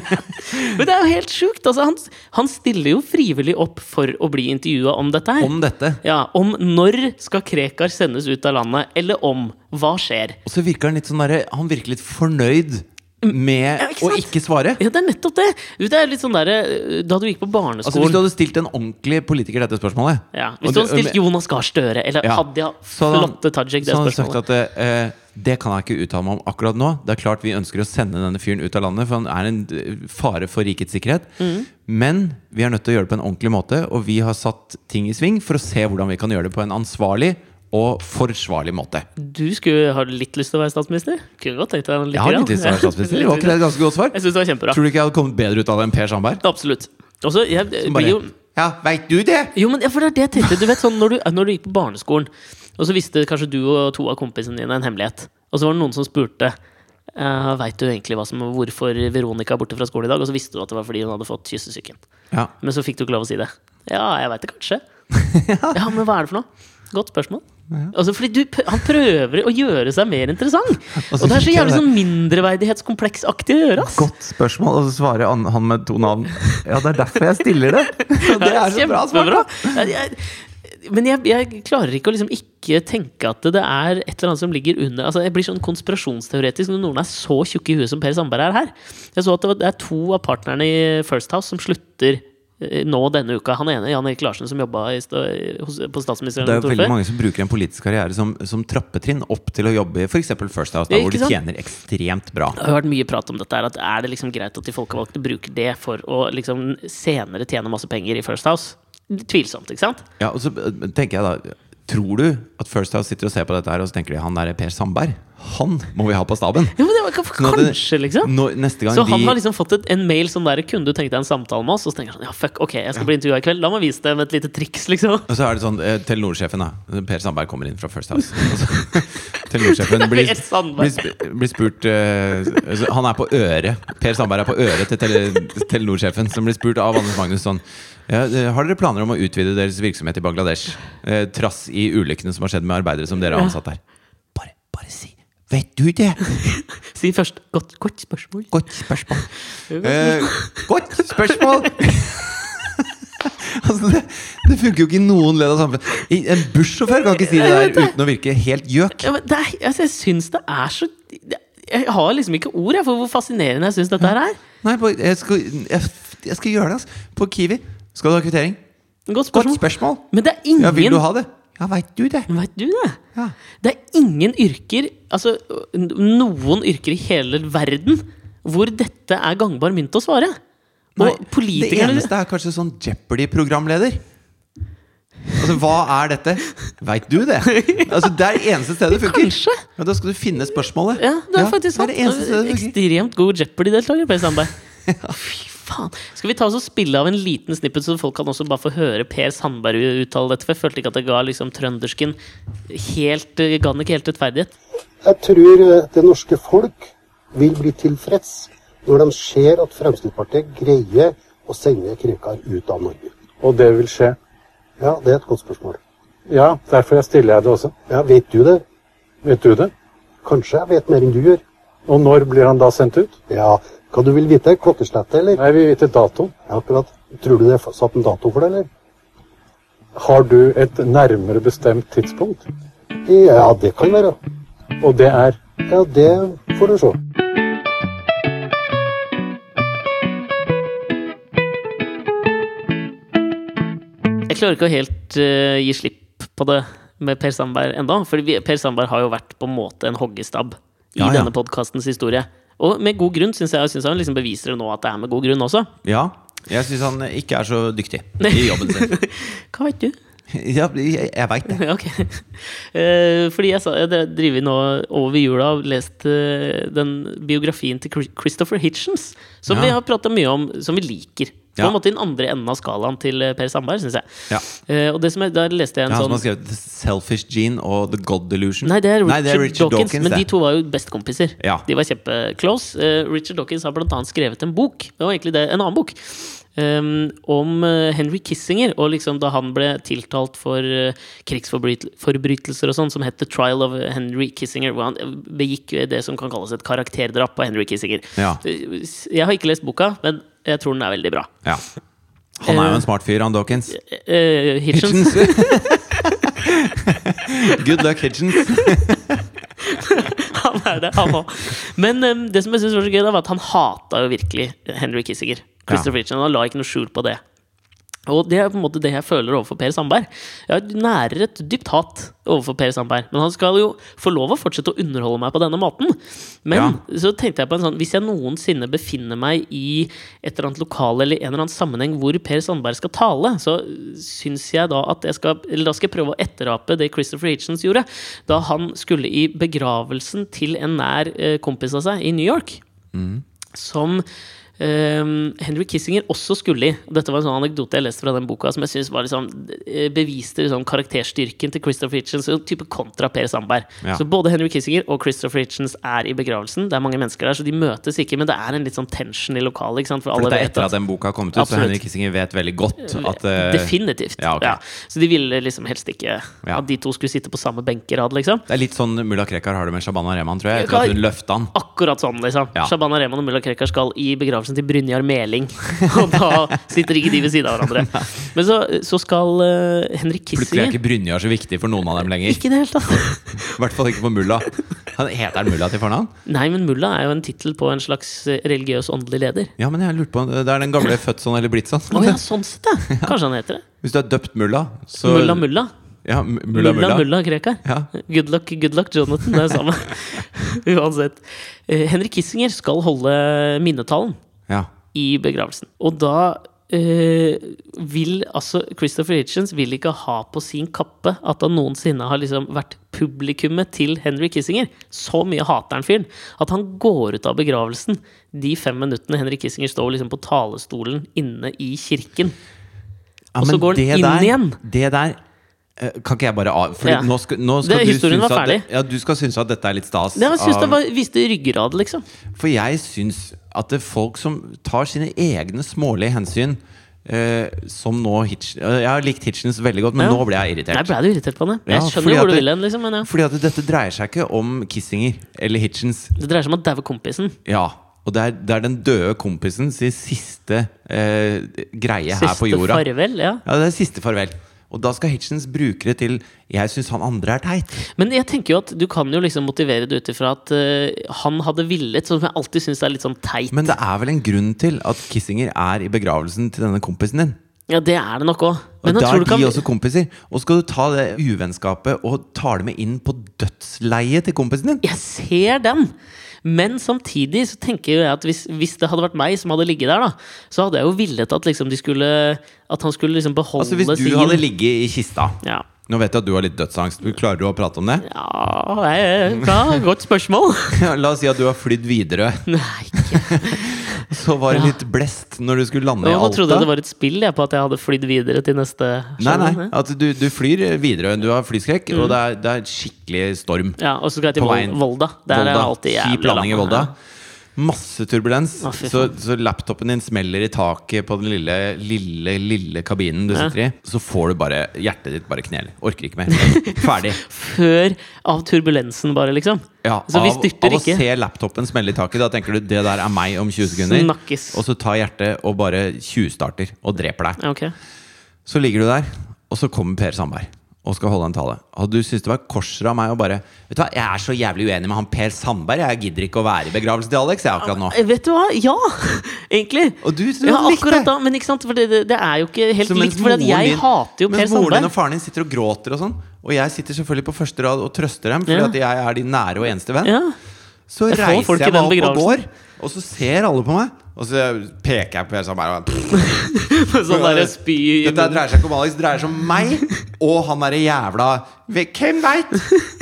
Men det er jo helt sjukt. Altså, han, han stiller jo frivillig opp for å bli intervjua om dette her. Om dette. Ja, Om når skal Krekar sendes ut av landet, eller om hva skjer? Og så virker han litt sånn derre Han virker litt fornøyd med Ja, ikke å sant? ikke svare. Ja, det er nettopp det! Det er litt sånn derre Da du gikk på Altså Hvis barneskolen du hadde stilt en ordentlig politiker dette spørsmålet ja, Hvis du hadde stilt Jonas Gahr Støre eller Ja. Hadia Så hadde han- Flotte Tajik det Så hadde han sagt spørsmålet at eh, det kan jeg ikke uttale meg om akkurat nå. Det er klart vi ønsker å sende denne fyren ut av landet, for han er en eh, fare for rikets sikkerhet. Mm. Men vi er nødt til å gjøre det på en ordentlig måte, og vi har satt ting i sving for å se hvordan vi kan gjøre det på en ansvarlig og forsvarlig måte. Du skulle ha litt lyst til å være statsminister? Kunne godt tenkt deg litt. Jeg har litt lyst til å være statsminister. Var ikke det et ganske godt svar? Jeg syns det var kjempebra. Tror du ikke jeg hadde kommet bedre ut av det enn Per Sandberg? Absolutt. Og så jeg, jeg, blir Bare, jo ja, veit du det? Jo, men ja, for det er det jeg tenkte. Du vet sånn, når du, når du gikk på barneskolen, og så visste kanskje du og to av kompisene dine en hemmelighet, og så var det noen som spurte uh, Veit du egentlig hva som, hvorfor Veronica er borte fra skolen i dag? Og så visste du at det var fordi hun hadde fått kyssesyken. Ja. Men så fikk du ikke lov å si det. Ja, jeg veit det kanskje. ja, men hva er det for noe? Godt spørsmål. Altså, fordi du, p- han prøver å gjøre seg mer interessant. Og så Og det er så fikk jeg jævlig det. sånn mindreverdighetskompleksaktig å gjøre. ass. Godt spørsmål. Og så svarer han, han med to navn. Ja, det er derfor jeg stiller det. Det er så bra svar. da. Kjempebra. Jeg- jeg- Men jeg, jeg klarer ikke å liksom ikke tenke at det er et eller annet som ligger under Altså Jeg blir sånn konspirasjonsteoretisk når noen er så tjukke i huet som Per Sandberg er her. Jeg så at det, var, det er to av partnerne i First House som slutter eh, nå denne uka. Han ene, Jan Erik Larsen, som jobba i, sta- hos- på statsministeren. Det er jo veldig mange som bruker en politisk karriere som, som trappetrinn opp til å jobbe i f.eks. First House, Ja, der, hvor ikke de sant? tjener ekstremt bra. Jeg har hørt mye prat om dette her, at er det liksom greit at de folkevalgte bruker det for å liksom senere tjene masse penger i First House? Tvilsomt, ikke sant? Ja, og så eh, tenker jeg da Tror du at First House sitter og ser på dette her og så tenker de han der er Per Sandberg? Han må vi ha på staben! Jo, men det var, Nå hadde- kanskje, liksom. Når, neste gang Så han de har liksom fått et, en mail som der Kunne du tenke deg en samtale med oss? Og så tenker han ja, fuck, ok, jeg skal bli intervjua i kveld. La meg vise dem et lite triks, liksom. Og så er det sånn, eh, Telenor-sjefen da Per Sandberg kommer inn fra First House. Og så- Telenor-sjefen blir, Per blir, Sandberg. sp- blir spurt eh, så Han er på øret. Per Sandberg er på øret til tele, Telenor-sjefen, som blir spurt av Anders Magnus sånn ja, eh, Har dere planer om å utvide deres virksomhet i Bangladesh? Eh, trass i ulykkene som har skjedd med arbeidere som dere har ansatt der. Bare, bare si Vet du det? Si først godt, godt spørsmål. Godt spørsmål. Eh, godt spørsmål! altså, det, det funker jo ikke i noen ledd av samfunnet. I- En bussjåfør kan ikke si det der uten å virke helt gjøk. Ja, men det er, altså, jeg syns det er så det, Jeg har liksom ikke ord jeg, for hvor fascinerende jeg syns dette her er. Nei, på, jeg, skal, jeg, jeg skal gjøre det, altså. På Kiwi. Skal du ha kvittering? Godt Godt spørsmål. spørsmål! Mm. Men det er ingen Ja, vil du ha det? Ja, veit du det? Veit du det? Ja. Det er ingen yrker, altså n- noen yrker i hele verden, hvor dette er gangbar mynt å svare. Og Nei, det politikerne eneste er kanskje sånn Jeopardy-programleder. Altså, hva er dette? Veit du det? Altså, Det er det eneste stedet det funker. Kanskje. Ja, da skal du finne spørsmålet. Ja, det er faktisk det sant. er det eneste stedet det funker. Ekstremt god Jeopardy-deltaker, Per Sandberg. Fy faen. Skal vi ta oss og spille av en liten snippet, så folk kan også bare få høre Per Sandberg uttale dette? For jeg følte ikke at det ga liksom trøndersken helt eh, Ga den ikke helt rettferdighet. Jeg tror eh, det norske folk vil bli tilfreds når de ser at Fremskrittspartiet greier å sende Krekar ut av Norge. Og det vil skje. Ja, det er et godt spørsmål. Ja, derfor jeg stiller jeg det også. Ja, Vet du det? Vet du det? Kanskje jeg vet mer enn du gjør? Og når blir han da sendt ut? Ja, hva du vil vite? Klokkeslettet, eller? Jeg vil vite dato. Ja, akkurat. Tror du det er f- satt en dato for det, eller? Har du et nærmere bestemt tidspunkt? Ja, det kan være. Og det er Ja, det får du se. Jeg klarer ikke å helt eh, gi slipp på det med Per Sandberg enda For vi, Per Sandberg har jo vært på en måte en hoggestabb i Ja, ja. denne podkastens historie. Og med god grunn, syns jeg. Og synes han liksom beviser det nå at det er med god grunn også. Ja, jeg syns han ikke er så dyktig i jobben sin. Hva vet du? Ja, jeg, jeg veit det. Ja, ok. Eh, Fordi jeg, sa, jeg driver nå over jula og lest eh, den biografien til Chris- Christopher Hitchens, som Ja. vi har prata mye om, som vi liker. På Ja. en måte i den andre enden av skalaen til eh, Per Sandberg, syns jeg. Ja. Eh, Og det som jeg, der leste jeg Det er en han som har sånn skrevet The Selfish Gene og The God Delusion. Nei, det er Richard, Richard Dawkins, men de det. to var jo bestekompiser. Ja. De var kjempe-close. Eh, Richard Dawkins har blant annet skrevet en bok, det var egentlig det, en annen bok, ehm, om eh, Henry Kissinger, og liksom da han ble tiltalt for eh, krigsforbrytelser og sånn, som het The Trial of Henry Kissinger, hvor han eh, begikk eh, det som kan kalles et karakterdrap av Henry Kissinger. Ja. Eh, Jeg har ikke lest boka, men jeg tror den er veldig bra. Ja. Han er jo en smart fyr, han Dawkins. Eh, Hitchens. Hitchens. Good luck, Hitchens. Han er det, han òg. Men em, det som jeg synes var så gøy, da, var at han hata jo virkelig Henry Kissinger. Christopher Hitchens, Han la ikke noe skjul på det. Og det er på en måte det jeg føler overfor Per Sandberg. Jeg nærer et dypt hat overfor Per Sandberg. Men han skal jo få lov å fortsette å underholde meg på denne måten. Men så tenkte jeg på en sånn Hvis jeg noensinne befinner meg i et eller annet lokale eller en eller annen sammenheng hvor Per Sandberg skal tale, så syns jeg da at jeg skal Eller da skal jeg prøve å etterape det Christopher Hitchens gjorde da han skulle i begravelsen til en nær eh, kompis av seg i New York som ehm, Henry Kissinger også skulle i. Og Dette var en sånn anekdote jeg leste fra den boka som jeg synes var liksom, eh, beviste liksom karakterstyrken til Christopher Hitchens. En type kontra Per Sandberg. Ja. Så både Henry Kissinger og Christopher Hitchens er i begravelsen. Det er mange mennesker der, så de møtes ikke, men det er en litt sånn tension i lokalet. Ikke sant? For For alle dette er vet etter at at den boka har kommet ut, så Absolutt. Henrik Kissinger vet veldig godt at eh, Definitivt. ja, ok. Så de ville liksom helst ikke Ja. at de to skulle sitte på samme benkerad, liksom. Det er litt sånn mulla Krekar har det med Shabana Rehman, tror jeg. Etter Hva- at hun løfta han. Akkurat sånn, liksom. Ja. Shabana Rehman og mulla Krekar skal i begravelsen til Brynjar Meling. Og da sitter ikke de ved siden av hverandre. Men så, så skal eh, Henrik Plutselig er Kissinger ikke Brynjar så viktig for noen av dem lenger. Ikke i det hele tatt! I hvert fall ikke for mulla. Han heter han mulla til fornavn? Nei, men mulla er jo en tittel på en slags eh, religiøs åndelig leder. Ja, men jeg lurte på Det er den gamle født sånn eller blitt sånn. Å ja, sånn sett, ja! Kanskje han heter det. Hvis du er døpt mulla, så Mulla Mulla. Ja, m- mulla, Mulla mulla. Mulla Krekar. Ja. Good luck, good luck, Jonathan. Det er samme. Uansett. Eh, Henrik Kissinger skal holde minnetalen. Ja. i begravelsen. Og da eh, vil altså Christopher Hitchens vil ikke ha på sin kappe at han noensinne har liksom vært publikummet til Henry Kissinger. Så mye hater han fyren. At han går ut av begravelsen de fem minuttene Henry Kissinger står liksom på talestolen inne i kirken. Ja, Og så men går den det inn der- igjen. Det der eh, kan ikke jeg bare av... For Ja. nå skal, nå skal du Det- historien synes var at, ferdig. Ja, du skal synes at dette er litt stas. Det jeg synes av- det var, viste ryggrad, liksom. For jeg syns at det er folk som tar sine egne smålige hensyn eh, Som nå Hitch, eh, Jeg har likt Hitchens veldig godt, men Ja. nå ble jeg Der irritert. ble du irritert på henne. Ja, Jeg fordi skjønner jo at hvor du det- vil hen, liksom, men ja. Fordi at dette dreier seg ikke om Kissinger eller Hitchens. Det dreier seg om å daue kompisen. Ja, Og det er, det er den døde kompisen sin siste eh, greie her på Siste jorda. farvel. Ja. Ja, det er siste farvel. Og da skal Hitchens bruke det til 'jeg syns han andre er teit'. Men jeg tenker jo at du kan jo liksom motivere det ut ifra at eh, han hadde villet, som jeg alltid syns er litt sånn teit. Men det er vel en grunn til at Kissinger er i begravelsen til denne kompisen din. ja, det er det nok òg. Og da er de også kompiser. Og skal du ta det uvennskapet og ta det med inn på dødsleiet til kompisen din? Jeg ser den! Men samtidig så tenker jo jeg at hvis, hvis det hadde vært meg som hadde ligget der, da, så hadde jeg jo villet at liksom de skulle At han skulle liksom beholde Altså Hvis du sin hadde ligget i kista Ja. Nå vet jeg at du har litt dødsangst. Du Klarer du å prate om det? Ja, nei, bra, godt spørsmål. La oss si at du har flydd videre. Nei, ikke. Så var det litt blest når du skulle lande i Nå trodde jeg det Alta. var et spill jeg, på at jeg hadde flydd videre til neste Nei, skjønner nei. du? Mm. At du, du flyr videre. Du har flyskrekk, og det er, det er skikkelig storm. Ja, Og så skal jeg til På Vol- veien. Volda. Der er det alltid jævlig sånn. Kjip landing i langt. Volda. Masse turbulens. Å, fy så, faen. så laptopen din smeller i taket på den lille, lille lille kabinen du Ja. sitter i. Så får du bare hjertet ditt bare kneler. Orker ikke mer. Ferdig. før av turbulensen, bare, liksom. Ja, så vi av, styrter av å ikke. se laptopen smelle i taket, da tenker du det der er meg om 20 sekunder. Snakkes. Og så tar hjertet og bare tjuvstarter og dreper deg. Ja, ok. Så ligger du der, og så kommer Per Sandberg og skal holde en tale. Og du syns det var korser av meg å bare Vet du hva, jeg er så jævlig uenig med han Per Sandberg. Jeg gidder ikke å være i begravelsen til Alex jeg akkurat nå. Eh, Vet du hva? Ja! Egentlig. Og du, du Ja, hadde likt akkurat det. da, men ikke sant? For det, det, det er jo ikke helt Så mens likt. For at moren jeg din- hater jo Per Mens moren din og Sandberg. faren din sitter og gråter og sånn, og jeg sitter selvfølgelig på første rad og trøster dem, fordi Ja. at jeg er de nære og eneste venn, Ja. så Jeg får reiser folk i jeg meg den opp og begravelsen. går, og så ser alle på meg, Og så peker jeg på hele sammen her og bare, Sånn der spy i Dette her munnen. dreier seg ikke om Alex, det dreier seg om meg og han derre jævla Hvem veit?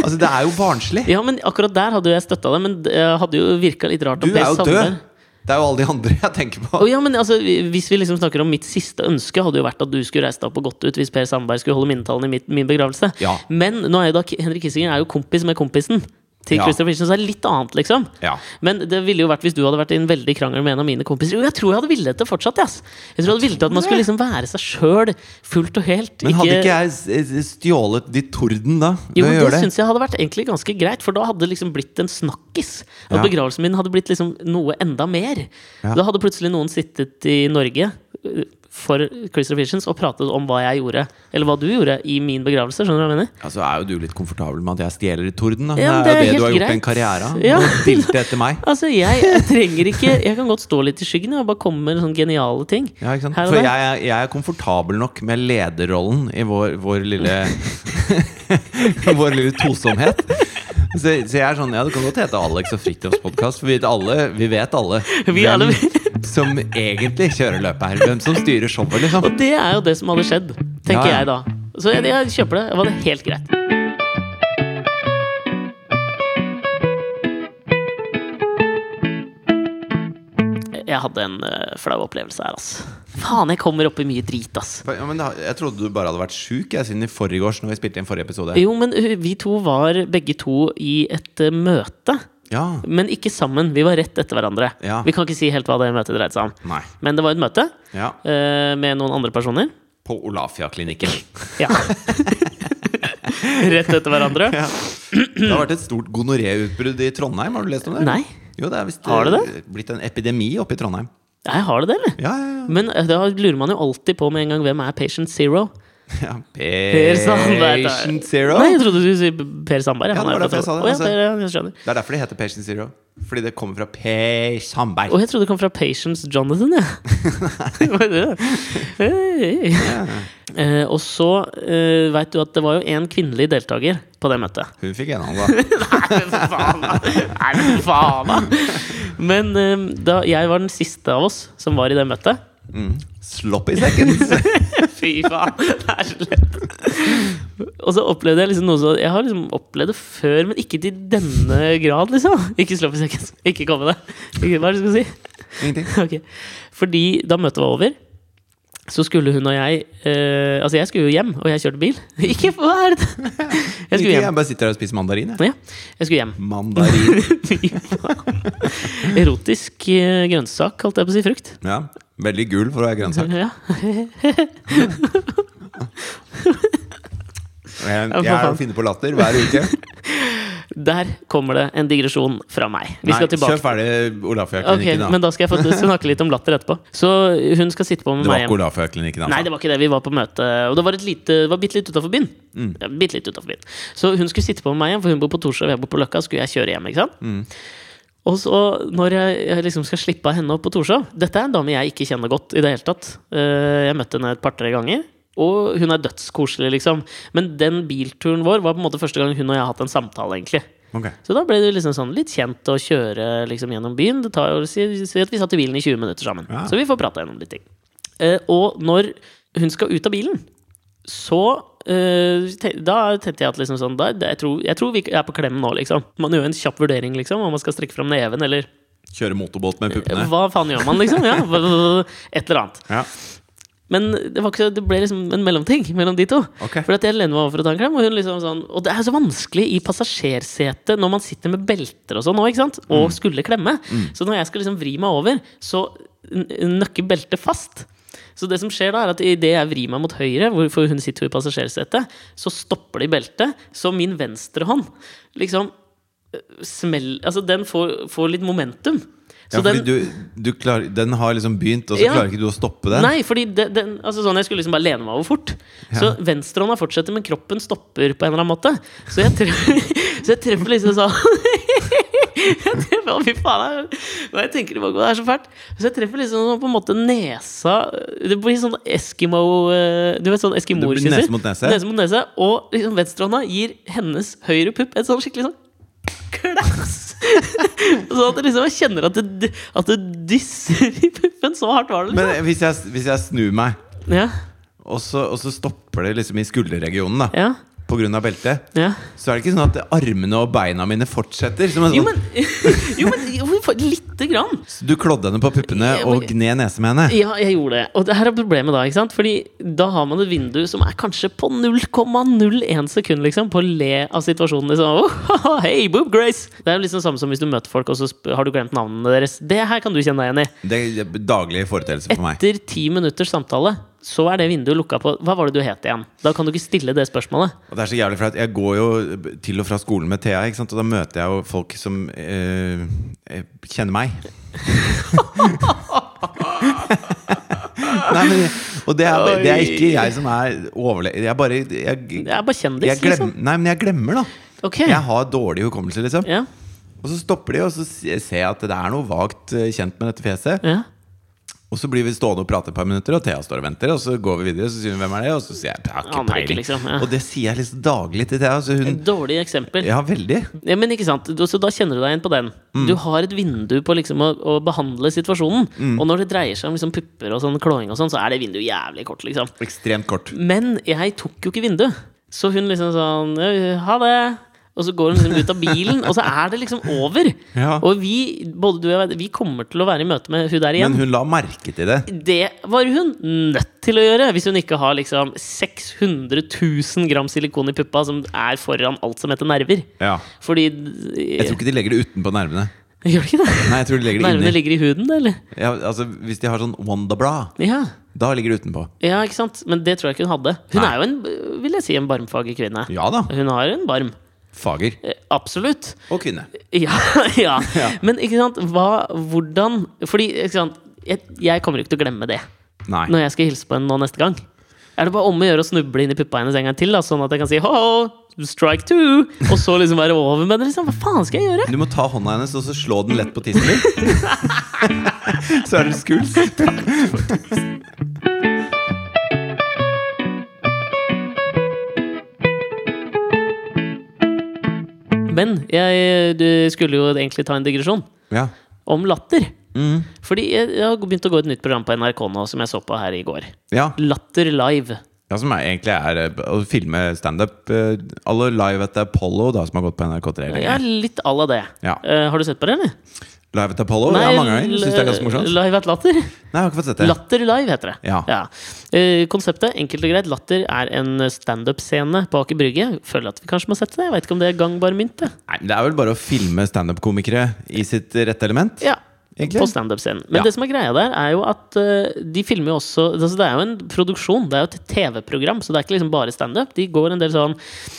Altså, det er jo barnslig. Ja, men akkurat der hadde jo jeg støtta deg, men det hadde jo virka litt rart. Du om er Per jo Sandberg- død. Det er jo alle de andre jeg tenker på. Å ja, men altså, Hvis vi liksom snakker om mitt siste ønske, hadde jo vært at du skulle reist deg opp og gått ut hvis Per Sandberg skulle holde minnetalen i mitt, min begravelse. Ja. Men nå er jo da Henrik Kissinger er jo kompis med kompisen til Ja. Christopher Hitchens. Det er litt annet, liksom. Ja. Men det ville jo vært hvis du hadde vært i en veldig krangel med en av mine kompiser. Jo, jeg tror jeg hadde villet det fortsatt. Yes. Jeg tror jeg hadde villet at man skulle liksom være seg sjøl fullt og helt. Men hadde ikke jeg s- s- stjålet ditt torden da? jo, ved å men gjøre Det syns jeg hadde vært egentlig ganske greit, for da hadde det liksom blitt en snakkis. At Ja. begravelsen min hadde blitt liksom noe enda mer. Ja. Da hadde plutselig noen sittet i Norge eh, for Christopher Hitchens og pratet om hva jeg gjorde, eller hva du gjorde, i min begravelse. Skjønner du hva jeg mener? Altså er jo du litt komfortabel med at jeg stjeler ditt torden. da Ja, men det er det jo er det du helt har gjort en greit. karriere av. Ja. Å dilte etter meg. Altså, jeg, trenger ikke Jeg kan godt stå litt i skyggen jeg, og bare komme med sånne geniale ting. Ja, ikke sant? Her og For der. jeg, er- jeg er komfortabel nok med lederrollen i vår, vår lille Vår lille tosomhet. Så, så jeg er sånn, ja Det kan godt hete Alex og Fridtjofs podkast, for vi vet alle, vi vet alle Vi alle- som egentlig kjører løpet her. Hvem som styrer showet, liksom. Og det er jo det som hadde skjedd, Ja, tenker ja. jeg da. Så jeg, jeg kjøper det. Det var helt greit. Jeg hadde en eh, flau opplevelse her, ass. Faen, jeg kommer opp i mye drit, ass. Ja, men da, jeg trodde du bare hadde vært sjuk jeg, siden i forgårs, når vi spilte inn forrige episode. Jo, men eh, vi to var begge to i et eh, møte. Ja, Men ikke sammen. Vi var rett etter hverandre. Ja. Vi kan ikke si helt hva det møtet dreide seg om. Nei. Men det var et møte ja. eh, med noen andre personer. På Olafia-klinikken. Ja. Rett etter hverandre. Det har vært et stort gonoré-utbrudd i Trondheim. Har du lest om det? Nei. Jo, det er visst Har det eh, blitt en epidemi oppe i Trondheim. Jeg har det, eller? Ja, ja, Men eh, da lurer man jo alltid på med en gang hvem er Patient Zero? ja. ja. Per Sandberg. da. Patient Zero. Nei, jeg trodde du skulle si Per Sandberg. Ja, han det er var fra derfor jeg sa det, Trondheim. Å, altså. ja, Per, jeg skjønner. Det er derfor det heter Patient Zero. Fordi det kommer fra Per Sandberg. Og jeg trodde det kom fra Patience Jonathan, jeg. Hva er det? Hey. Eh, og så uh, veit du at det var jo én kvinnelig deltaker på det møtet. Hun fikk en av dem, da. Nei, men faen, da! Nei, men faen, da! Men eh, da, jeg var den siste av oss som var i det møtet. Sloppy seconds. Fy faen, det er så lett. Og så opplevde jeg liksom noe så Jeg har liksom opplevd det før, men ikke til denne grad, liksom. Ikke slå på sekken. Ikke kom med det. Ikke, hva er det du skal si? Ingenting. Ok. Fordi da møtet var over, så skulle hun og jeg eh, Altså, jeg skulle jo hjem, og jeg kjørte bil. Ikke hva er det? Jeg skulle Ingenting, hjem. Jeg bare sitter her og spiser mandarin. Jeg. Ja, jeg skulle hjem. Mandarin. Fy faen. Erotisk eh, grønnsak, holdt jeg på å si. Frukt. Ja. Veldig gul for å være grønnsak. Ja. Jeg, jeg er å finne på latter hver uke. Der kommer det en digresjon fra meg. Vi skal Nei, tilbake kjør ferdig Ok, Olafia-klinikken, Men da. da skal jeg få snakke litt om latter etterpå. Så hun skal sitte på med Det var meg ikke hjem. Olafia-klinikken, altså. Nei, det var ikke det. Vi var på møte, og det var, et lite, det var bitte litt utafor byen. Mm. Ja, bitte litt utenfor byen. Så hun skulle sitte på med meg hjem, for hun bor på Torshov, jeg bor på Løkka. Skulle jeg kjøre hjem, ikke sant? Mm. Og så, når jeg, jeg liksom skal slippe av henne opp på Torshov Dette er en dame jeg ikke kjenner godt i det hele tatt. Eh, Jeg møtte henne et par-tre ganger. Og hun er dødskoselig, liksom. Men den bilturen vår var på en måte første gang hun og jeg har hatt en samtale, egentlig. Ok. Så da ble det liksom sånn litt kjent å kjøre liksom gjennom byen. Det tar jo, si, si at Vi satt i bilen i 20 minutter sammen, Ja. så vi får prata gjennom litt ting. Eh, og når hun skal ut av bilen, så eh, te- Da tenkte jeg at liksom sånn da, da, jeg, tror, jeg tror vi er på klem nå, liksom. Man gjør en kjapp vurdering, liksom, om man skal strekke fram neven, eller Kjøre motorbåt med puppene. hva faen gjør man, liksom? Ja, et eller annet. Ja. Men det, var ikke, det ble liksom en mellomting mellom de to. Ok. For at jeg lener meg over for å ta en klem, og hun liksom sånn Og det er så vanskelig i passasjersetet når man sitter med belter og sånn òg, ikke sant? Og Mm. skulle klemme. Så når jeg skal liksom vri meg over, så n- nøkker beltet fast. Så det som skjer da er at idet jeg vrir meg mot høyre, hvor- for hun sitter jo i passasjersetet, så stopper de beltet. Så min venstre hånd liksom øh, smell, altså Den får, får litt momentum. Ja, Så fordi du, du klar, den har liksom begynt, og så Ja. klarer ikke du å stoppe den? Nei, fordi det, den, altså sånn, jeg skulle liksom bare lene meg over fort. Så venstrehånda fortsetter, men kroppen stopper på en eller annen måte. Så jeg, tre så jeg treffer liksom sånn Jeg treffer, å, fy faen, jeg, og jeg tenker tilbake på det, det er så fælt. Så jeg treffer liksom sånn, på en måte nesa Det blir sånn Eskimo eh, Du vet sånn Det blir eskimoer nese mot nese. Nese mot nese. Og liksom venstrehånda gir hennes høyre pupp et sånn skikkelig sånn klass Sånn at jeg liksom jeg kjenner at det, at det dysser i puppen. Så hardt var det, Men hvis jeg, hvis jeg snur meg, liksom. Ja, og så, og så stopper det liksom i skulderregionen da, ja, på grunn av beltet, ja. så er det ikke sånn at armene og beina mine fortsetter. Som en Jo, sånn, men, jo, men jo, for lite grann. Du klådde henne på puppene Ja, men- og gned nesen med henne. Ja, jeg gjorde det. Og det her er problemet da, ikke sant? Fordi da har man et vindu som er kanskje på 0,01 sekund, liksom, på å le av situasjonen. Liksom. Oh, haha, hey, boob grace! Det er jo liksom samme som hvis du møter folk, og så sp- har du glemt navnene deres. Det her kan du kjenne deg igjen i. Det er daglig foreteelse for meg. Etter ti minutters samtale, så er det vinduet lukka på Hva var det du het igjen? Da kan du ikke stille det spørsmålet. Og det er så jævlig flaut. Jeg går jo til og fra skolen med Thea, ikke sant? og da møter jeg jo folk som eh, eh, kjenner meg. Nei, men, og det er, det er ikke jeg som er overlegen. Jeg bare jeg, Det er bare kjendis, jeg glem, liksom. Nei, men jeg glemmer, da. Ok. Jeg har dårlig hukommelse, liksom. Ja. Og så stopper de, og så se- ser jeg at det er noe vagt eh, kjent med dette fjeset. Ja. Og så blir vi stående og prate et par minutter, og Thea står og venter. Og så går vi videre, og så sier hun 'hvem er det?' Og så sier jeg 'jeg har ikke Aner ikke, peiling'. liksom, ja. Og det sier jeg liksom daglig til Thea. Så hun Dårlig eksempel. Ja, veldig. Ja, men ikke sant, Du- Så da kjenner du deg igjen på den. Mm. Du har et vindu på liksom å, å behandle situasjonen. Mm. Og når det dreier seg om liksom pupper og sånn klåing, og sånn, så er det vinduet jævlig kort. liksom Ekstremt kort. Men jeg tok jo ikke vinduet. Så hun liksom sånn «Ja, Ha det! Og så går hun liksom ut av bilen, og så er det liksom over. Ja. Og vi både du og jeg, vi kommer til å være i møte med hun der igjen. Men hun la merke til det. Det var hun nødt til å gjøre hvis hun ikke har liksom 600 000 gram silikon i puppa, som er foran alt som heter nerver. Ja. Fordi Jeg tror ikke de legger det utenpå nervene. Gjør det ikke det? Nei, jeg tror de legger det Nervene inni. ligger i huden, det, eller? Ja, altså, hvis de har sånn Wonderbra, Ja. da ligger det utenpå. ja, ikke sant? Men det tror jeg ikke hun hadde. Hun Nei. er jo en, vil jeg si, en barmfager kvinne. Ja da. Hun har en barm. Fager. Eh, Absolutt. Og kvinne. Ja, ja. Men ikke sant, hva, hvordan Fordi ikke sant, jeg, jeg kommer ikke til å glemme det Nei. når jeg skal hilse på henne nå neste gang. Er det bare om å gjøre å snuble inn i puppa hennes en gang til, da, sånn at jeg kan si ho, strike two, og så liksom være over med det? Liksom. Hva faen skal jeg gjøre? Du må ta hånda hennes og så slå den lett på tissen din. så er du skuls. Men jeg du skulle jo egentlig ta en digresjon Ja. om latter. Mm. Fordi jeg, jeg har begynt å gå et nytt program på NRK nå, som jeg så på her i går. ja. Latter live. Ja, som er, egentlig er eh, å filme standup. eh, Alle live etter Apollo, da, som har gått på NRK3 Jeg er lenge. litt à la det. Ja. Eh, har du sett på det, eller? Live etter Apollo? ja, mange ganger. Syns det er ganske morsomt. Nei, Live at latter. jeg har ikke fått sett det. Latter live heter det. Ja. Eh, konseptet, enkelt og greit, latter er en standup-scene på Aker Brygge. Føler at vi kanskje må sette det. Jeg vet ikke om det er gangbar mynt. det. Nei, men det er vel bare å filme standup-komikere i sitt rette element? Ja. Egentlig? På standup-scenen. Men Ja. det som er greia der, er jo at eh, de filmer jo også altså Det er jo en produksjon, det er jo et TV-program, så det er ikke liksom bare standup. De går en del sånn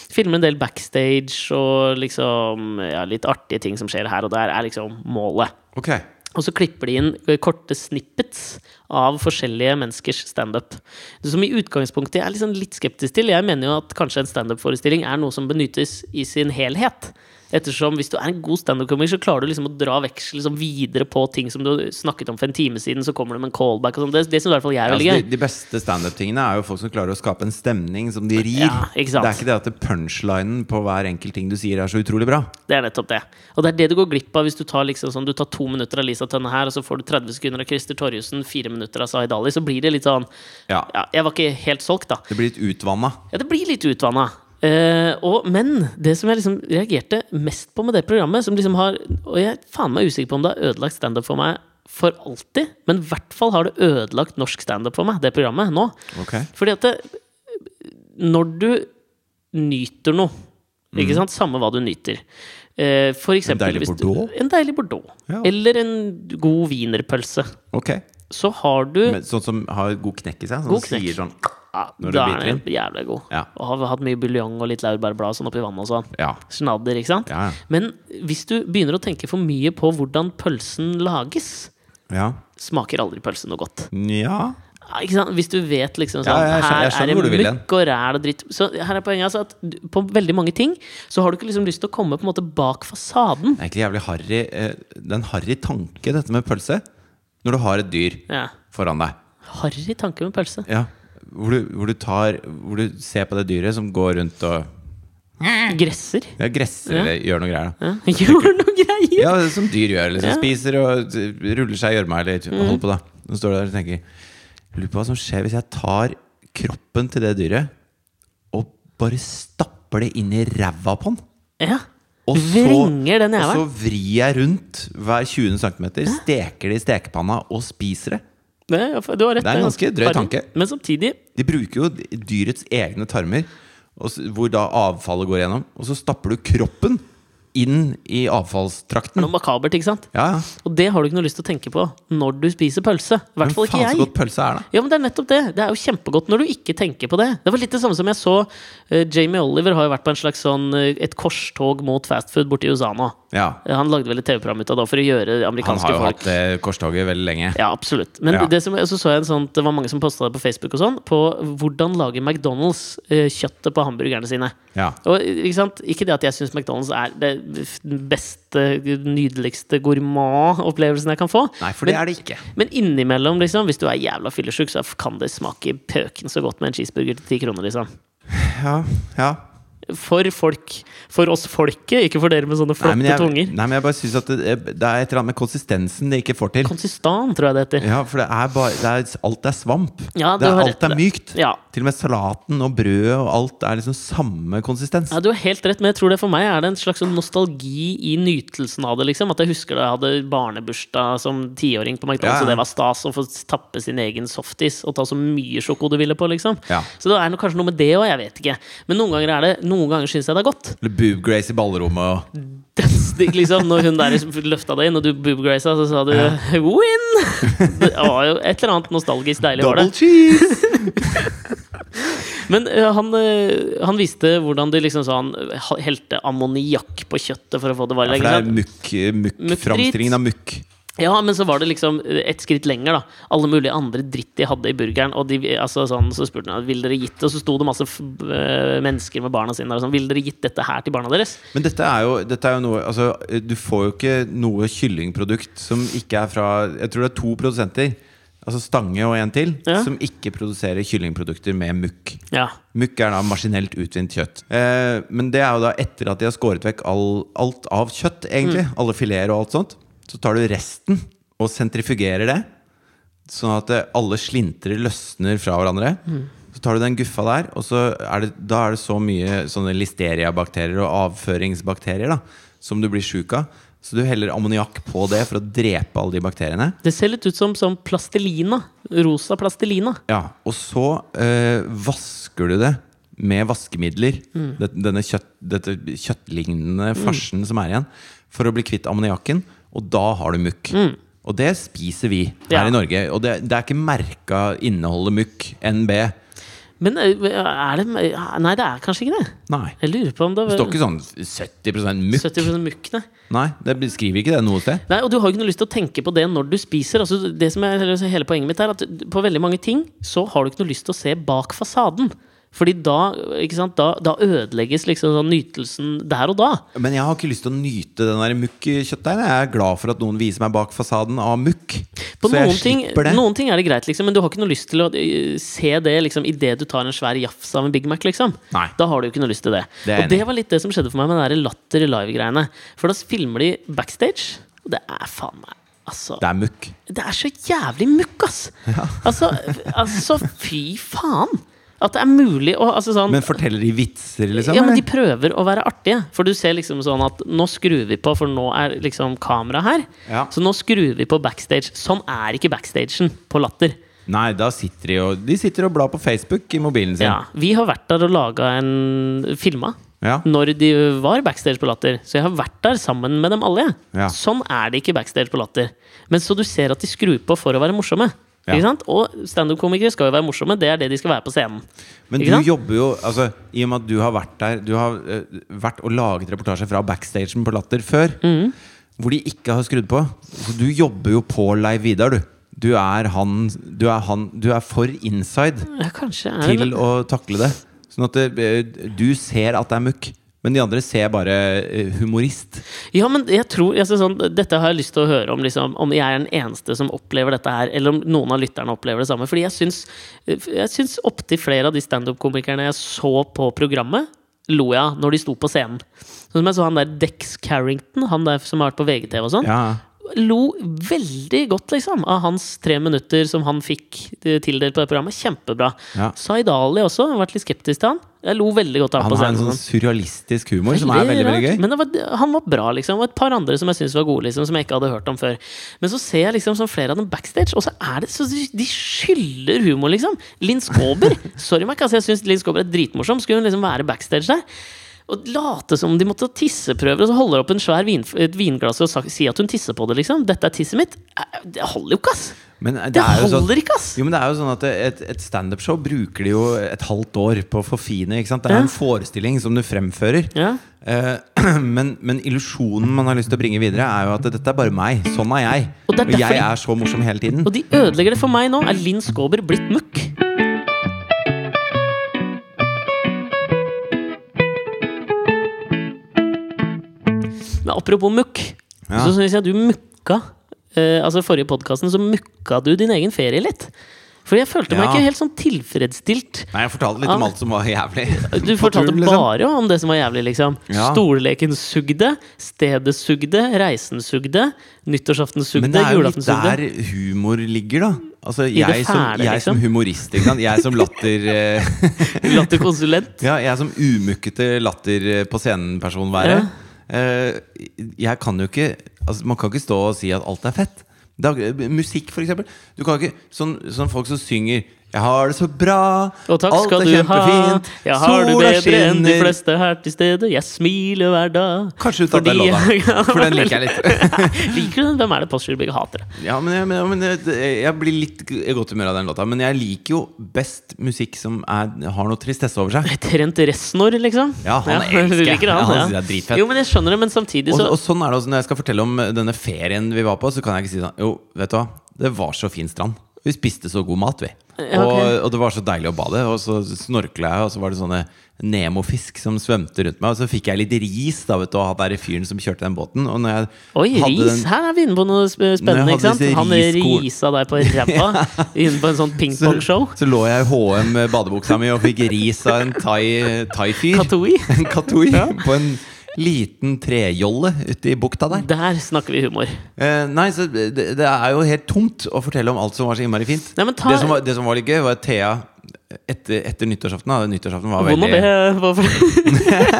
Filmer en del backstage og liksom ja, litt artige ting som skjer her og der, er liksom målet. Ok. Og så klipper de inn eh, korte snippets av forskjellige menneskers standup. Som i utgangspunktet jeg er liksom litt skeptisk til. Jeg mener jo at kanskje en standup-forestilling er noe som benyttes i sin helhet. Ettersom hvis du er en god standup-komiker, så klarer du liksom å dra veksel liksom videre på ting som du snakket om for en time siden, så kommer det med en callback og sånn. Det, det syns i hvert fall jeg er Altså, veldig de, gøy. de beste standup-tingene er jo folk som klarer å skape en stemning som de rir. Ja, ikke sant. Det er ikke det at det punchlinen på hver enkelt ting du sier, er så utrolig bra. Det er nettopp det. Og det er det du går glipp av hvis du tar liksom sånn Du tar to minutter av Lisa Tønne her, og så får du 30 sekunder av Christer Torjussen, fire minutter av Zaid Ali, så blir det litt sånn Ja. Ja, jeg var ikke helt solgt, da. Det blir litt utvanna. Ja, det blir litt utvanna. Eh, men det som jeg liksom reagerte mest på med det programmet, som liksom har Og jeg er faen meg usikker på om det har ødelagt standup for meg for alltid, men i hvert fall har det ødelagt norsk standup for meg, det programmet, nå. Ok. Fordi at det, når du nyter noe, ikke sant, samme hva du nyter eh, For eksempel Mm. deilig hvis du- Bordeaux? En deilig Bordeaux. Ja. Eller en god wienerpølse. Ok. Så har du Men, sånn som har god knekk i seg? Sånn God som knekk. Sier sånn ja, når du Da biter er den jævlig god. Ja. Og har hatt mye buljong og litt laurbærblad og sånn oppi vannet og sånn. Ja. Snadder, ikke sant? Ja, ja. Men hvis du begynner å tenke for mye på hvordan pølsen lages, Ja. smaker aldri pølse noe godt. ja. Ja, Ikke sant? Hvis du vet liksom sånn Ja, ja, jeg skjønner- jeg skjønner hvor Her du er vil det mukk og ræl og dritt. Så her er poenget altså at du- på veldig mange ting så har du ikke liksom lyst til å komme på en måte bak fasaden. Det er egentlig jævlig harry eh, Det er en harry tanke, dette med pølse. Når du har et dyr Ja. foran deg. Harry tanke med pølse. Ja. Hvor, du, hvor, du tar, hvor du ser på det dyret som går rundt og Gresser. Ja, gresser eller gjør noe greier. da. Ja. Gjør noe greier! Ja, det er som dyr gjør. Liksom. Ja. Mm. Spiser og eh, ruller seg i gjørma eller holder på, da. Så står du der og tenker Jeg lurer på hva som skjer hvis jeg tar kroppen til det dyret og bare stapper det inn i ræva på den. Ja. Og Vrenger den og så jævelen. vrir jeg rundt hver 20 cm, steker det i stekepanna og spiser det. Det er du har rett. Det er en ganske drøy farlig. tanke. Men samtidig De bruker jo dyrets egne tarmer, og s- hvor da avfallet går gjennom. Og så stapper du kroppen inn i er det avfallstrakten. noe makabert, ikke sant? Ja, ja. Og det har du ikke noe lyst til å tenke på når du spiser pølse. I Men hvert fall ikke faen så jeg. godt pølse er, da. Ja, men Det er nettopp det. Det er jo kjempegodt når du ikke tenker på det. Det var litt det samme som jeg så eh, Jamie Oliver har jo vært på en slags sånn eh, et korstog mot fastfood borti USA nå. Ja. Eh, Han lagde vel et TV-program ut av det for å gjøre det Han amerikanske har jo folk hatt det korstoget veldig lenge. Ja, absolutt. Men Ja. det som, så så jeg en sånn, det var mange som posta det på Facebook og sånn, på hvordan lager McDonald's eh, kjøttet på hamburgerne sine. Ja. Og, ikke, sant? ikke det at jeg syns McDonald's er det f- den beste, nydeligste gourmet-opplevelsen jeg kan få. Nei, for det er det ikke. Men innimellom, liksom, hvis du er jævla fyllesyk, så kan det smake pøken så godt med en cheeseburger til ti kroner. Liksom. Ja, ja. For folk. For oss folket, ikke for dere med Nei, sånne flotte men jeg, tunger. nei, men jeg bare syns at det, eh, det er et eller annet med konsistensen det ikke får til. Konsistan, tror jeg det heter. Ja, for det er bare det er, Alt er svamp. Ja, du det er, har alt rett i er det. mykt. Ja. Til og med salaten og brødet og alt er liksom samme konsistens. Ja, Du har helt rett, men jeg tror det for meg er det en slags sånn nostalgi i nytelsen av det. liksom At jeg husker da jeg hadde barnebursdag som tiåring på Ja, ja. McDonald's, og det var stas å få tappe sin egen softis og ta så mye sjoko du ville på, liksom. Ja. Så det er noe, kanskje noe med det òg, jeg vet ikke. Men noen ganger er det Noen ganger syns jeg det er godt. Eller Boob Grace i ballrommet og Dødsdigg, liksom. Når hun der løfta deg inn, og du boobgraza, så sa du win! Det var jo et eller annet nostalgisk deilig. var Double det cheese! Men eh, han, eh, han viste hvordan de liksom sånn eh, helte ammoniakk på kjøttet for å få det varmt. Ja, for ikke det sant? er mukk, mukk, Mukkdrit. framstillingen av mukk. Ja, men så var det liksom eh, et skritt lenger, da. Alle mulige andre dritt de hadde i burgeren. Og de, altså, sånn, så spurte han vil dere gitt det, og så sto det masse f eh, mennesker med barna sine der og sånn. Ville dere gitt dette her til barna deres? Men dette er jo, dette er jo noe altså, Du får jo ikke noe kyllingprodukt som ikke er fra Jeg tror det er to produsenter, altså Stange og en til, Ja. som ikke produserer kyllingprodukter med mukk. Ja. Mukk er da maskinelt utvint kjøtt. Eh, men det er jo da etter at de har skåret vekk all, alt av kjøtt, egentlig. Alle fileter og alt sånt. Så tar du resten og sentrifugerer det, sånn at eh, alle slintrer løsner fra hverandre. Så tar du den guffa der, og så er det, da er det så mye sånne listeriabakterier og avføringsbakterier da, som du blir sjuk av. Så du heller ammoniakk på det for å drepe alle de bakteriene. Det ser litt ut som, som plastelina. Rosa plastelina. Ja, og så eh, vasker du det med vaskemidler. Mm. Det, denne kjøtt, dette kjøttlignende farsen som er igjen. For å bli kvitt ammoniakken. Og da har du mukk. Og det spiser vi her Mm. Ja. i Norge. Og det, det er ikke merka inneholdet mukk. NB. Men eh, er det Nei, det er kanskje ikke det. Nei. Jeg lurer på om det Det var står ikke sånn 70 mukk. 70 mukk, nei. Nei, det skriver ikke det noe sted. Nei, og du har jo ikke noe lyst til å tenke på det når du spiser. Altså, det som er eller, hele poenget mitt er at På veldig mange ting så har du ikke noe lyst til å se bak fasaden. Fordi da, ikke sant, da, da ødelegges liksom sånn nytelsen der og da. Men jeg har ikke lyst til å nyte den der mukk-kjøttdeigen. Jeg er glad for at noen viser meg bak fasaden av mukk. På Så jeg noen ting, slipper det. noen ting er det greit, liksom, men du har ikke noe lyst til å eh, se det liksom, idet du tar en svær jafs av en Big Mac. Liksom. Nei. Da har du jo ikke noe lyst til det. Det er jeg og det enig i. var litt det som skjedde for meg med den der Latter Live-greiene. For da filmer de backstage, og det er faen meg altså, Det er mukk. Det er så jævlig mukk, ass! Altså, altså, fy faen! At det er mulig å altså, sånn, Men forteller de vitser, liksom? Ja, men eller? de prøver å være artige. For du ser liksom sånn at nå skrur vi på, for nå er liksom kamera her. Ja. Så nå skrur vi på backstage. Sånn er ikke backstagen på Latter. Nei, da sitter de og De sitter og blar på Facebook i mobilen sin. Ja, vi har vært der og laga en filma. Ja. Når de var backstage på Latter. Så jeg har vært der sammen med dem alle. jeg. Ja. Sånn er det ikke backstage på Latter. Men så du ser at de skrur på for å være morsomme. Ja. Ikke sant? Og standup-komikere skal jo være morsomme. Det er det de skal være på scenen. Men Ikke du sant? jobber jo altså, I og med at du har vært der Du har eh, vært og laget reportasje fra backstagen på Latter før, Mm. hvor de ikke har skrudd på. Så du jobber jo på Leiv Vidar, du. Du er han Du er, han, du er for inside Ja, kanskje er det til å takle det. Sånn at eh, du ser at det er mukk, men de andre ser bare eh, humorist. Ja, men jeg tror altså, sånn, Dette har jeg lyst til å høre om, liksom, om jeg er den eneste som opplever dette her, eller om noen av lytterne opplever det samme. Fordi jeg syns, jeg syns opptil flere av de standup-komikerne jeg så på programmet, lo jeg av når de sto på scenen. Sånn som jeg så han der Dex Carrington, han der som har vært på VGTV og sånn, Ja. lo veldig godt liksom av hans tre minutter som han fikk eh, tildelt på det programmet. Kjempebra. Ja. Zaid Ali også, jeg har vært litt skeptisk til han. Jeg lo veldig godt av Han på har en scenen. sånn surrealistisk humor som er veldig veldig rart, gøy. Men det var, han var bra, liksom. Og et par andre som jeg synes var gode, liksom, som jeg ikke hadde hørt om før. Men så ser jeg liksom sånn flere av dem backstage, og så er det så de de skylder humor, liksom. Linn Skåber. Sorry, meg, altså, jeg syns Linn Skåber er dritmorsom. Skulle hun liksom være backstage der? Og late som om de måtte ta tisseprøver, og så holder opp en svær vin, et vinglass og sa- sier at hun tisser på det, liksom. 'Dette er tisset mitt'. Eh, Det holder jo ikke, ass! Men det, Det er jo sånn, holder ikke, ass! jo, men det er jo sånn at Et, et standup-show bruker de jo et halvt år på å forfine. ikke sant? Det er en forestilling som du fremfører. Ja. Eh, men men illusjonen man har lyst til å bringe videre, er jo at dette er bare meg. Sånn er jeg. Og det er Og jeg derfor- er så morsom hele tiden. Og de ødelegger det for meg nå. Er Linn Skåber blitt møkk? Men apropos mukk, Ja. så syns jeg du mukka eh, Altså forrige podkasten så mukka du din egen ferie litt. For jeg følte meg Ja. ikke helt sånn tilfredsstilt. Nei, jeg fortalte litt om alt som var jævlig. Du fortalte turen, liksom. bare om det som var jævlig, liksom. Ja. Stolleken sugde, stedet sugde, reisen sugde, nyttårsaften sugde, Men det er jo litt julaften sugde. der humor ligger, da. Altså, det jeg, som, fæle, jeg som liksom. humorist, ikke sant? jeg som latter eh, Latterkonsulent. Ja, jeg som umukkete latter eh, på scenen-person være. eh, Jeg kan jo ikke altså, Man kan ikke stå og si at alt er fett. Dag, musikk, for eksempel. Du kan ikke, sånn, sånn folk som synger 'Jeg har det så bra, Og takk alt skal er du ha. kjempefint, Jeg har det sola bedre enn de skinner' fleste her til stede. Jeg smiler hver dag. Kanskje du tar den Fordi- låta, for den liker jeg litt. liker du den? Hvem er det Postgirobygget hater? Ja, men, jeg, men, men jeg, jeg blir litt g- i godt humør av den låta. Men jeg liker jo best musikk som er, har noe tristesse over seg. Trent Reznor, liksom? Ja, han du elsker jeg. liker han, Ja, han ja. synes jeg er dritfett. Jo, men jeg skjønner det, men samtidig Og, så og sånn er det også når jeg skal fortelle om denne ferien vi var på. Så kan jeg ikke si sånn Jo, vet du hva, det var så fin strand. Vi spiste så god mat, vi. Ja, ok. og, og det var så deilig å bade. Og så snorkla jeg, og så var det sånne nemofisk som svømte rundt meg. Og så fikk jeg litt ris da, vet du, av han der fyren som kjørte den båten. Og når jeg Oi, hadde ris! den- Her er vi inne på noe sp- spennende. Når jeg ikke hadde sant? Han disse riskorn- risa deg på ræva inne på en sånn så, pingpongshow. så lå jeg i HM med badebuksa mi og fikk ris av en thai- thai-fyr. Katoi. en katoi på en liten trejolle ute i bukta der. Der snakker vi humor. Eh, nei, så det, det er jo helt tomt å fortelle om alt som var så innmari fint. Nei, men ta- det, som var, det som var litt gøy, var at Thea etter, etter nyttårsaften da, Nyttårsaften var Vond veldig å be hvorfor-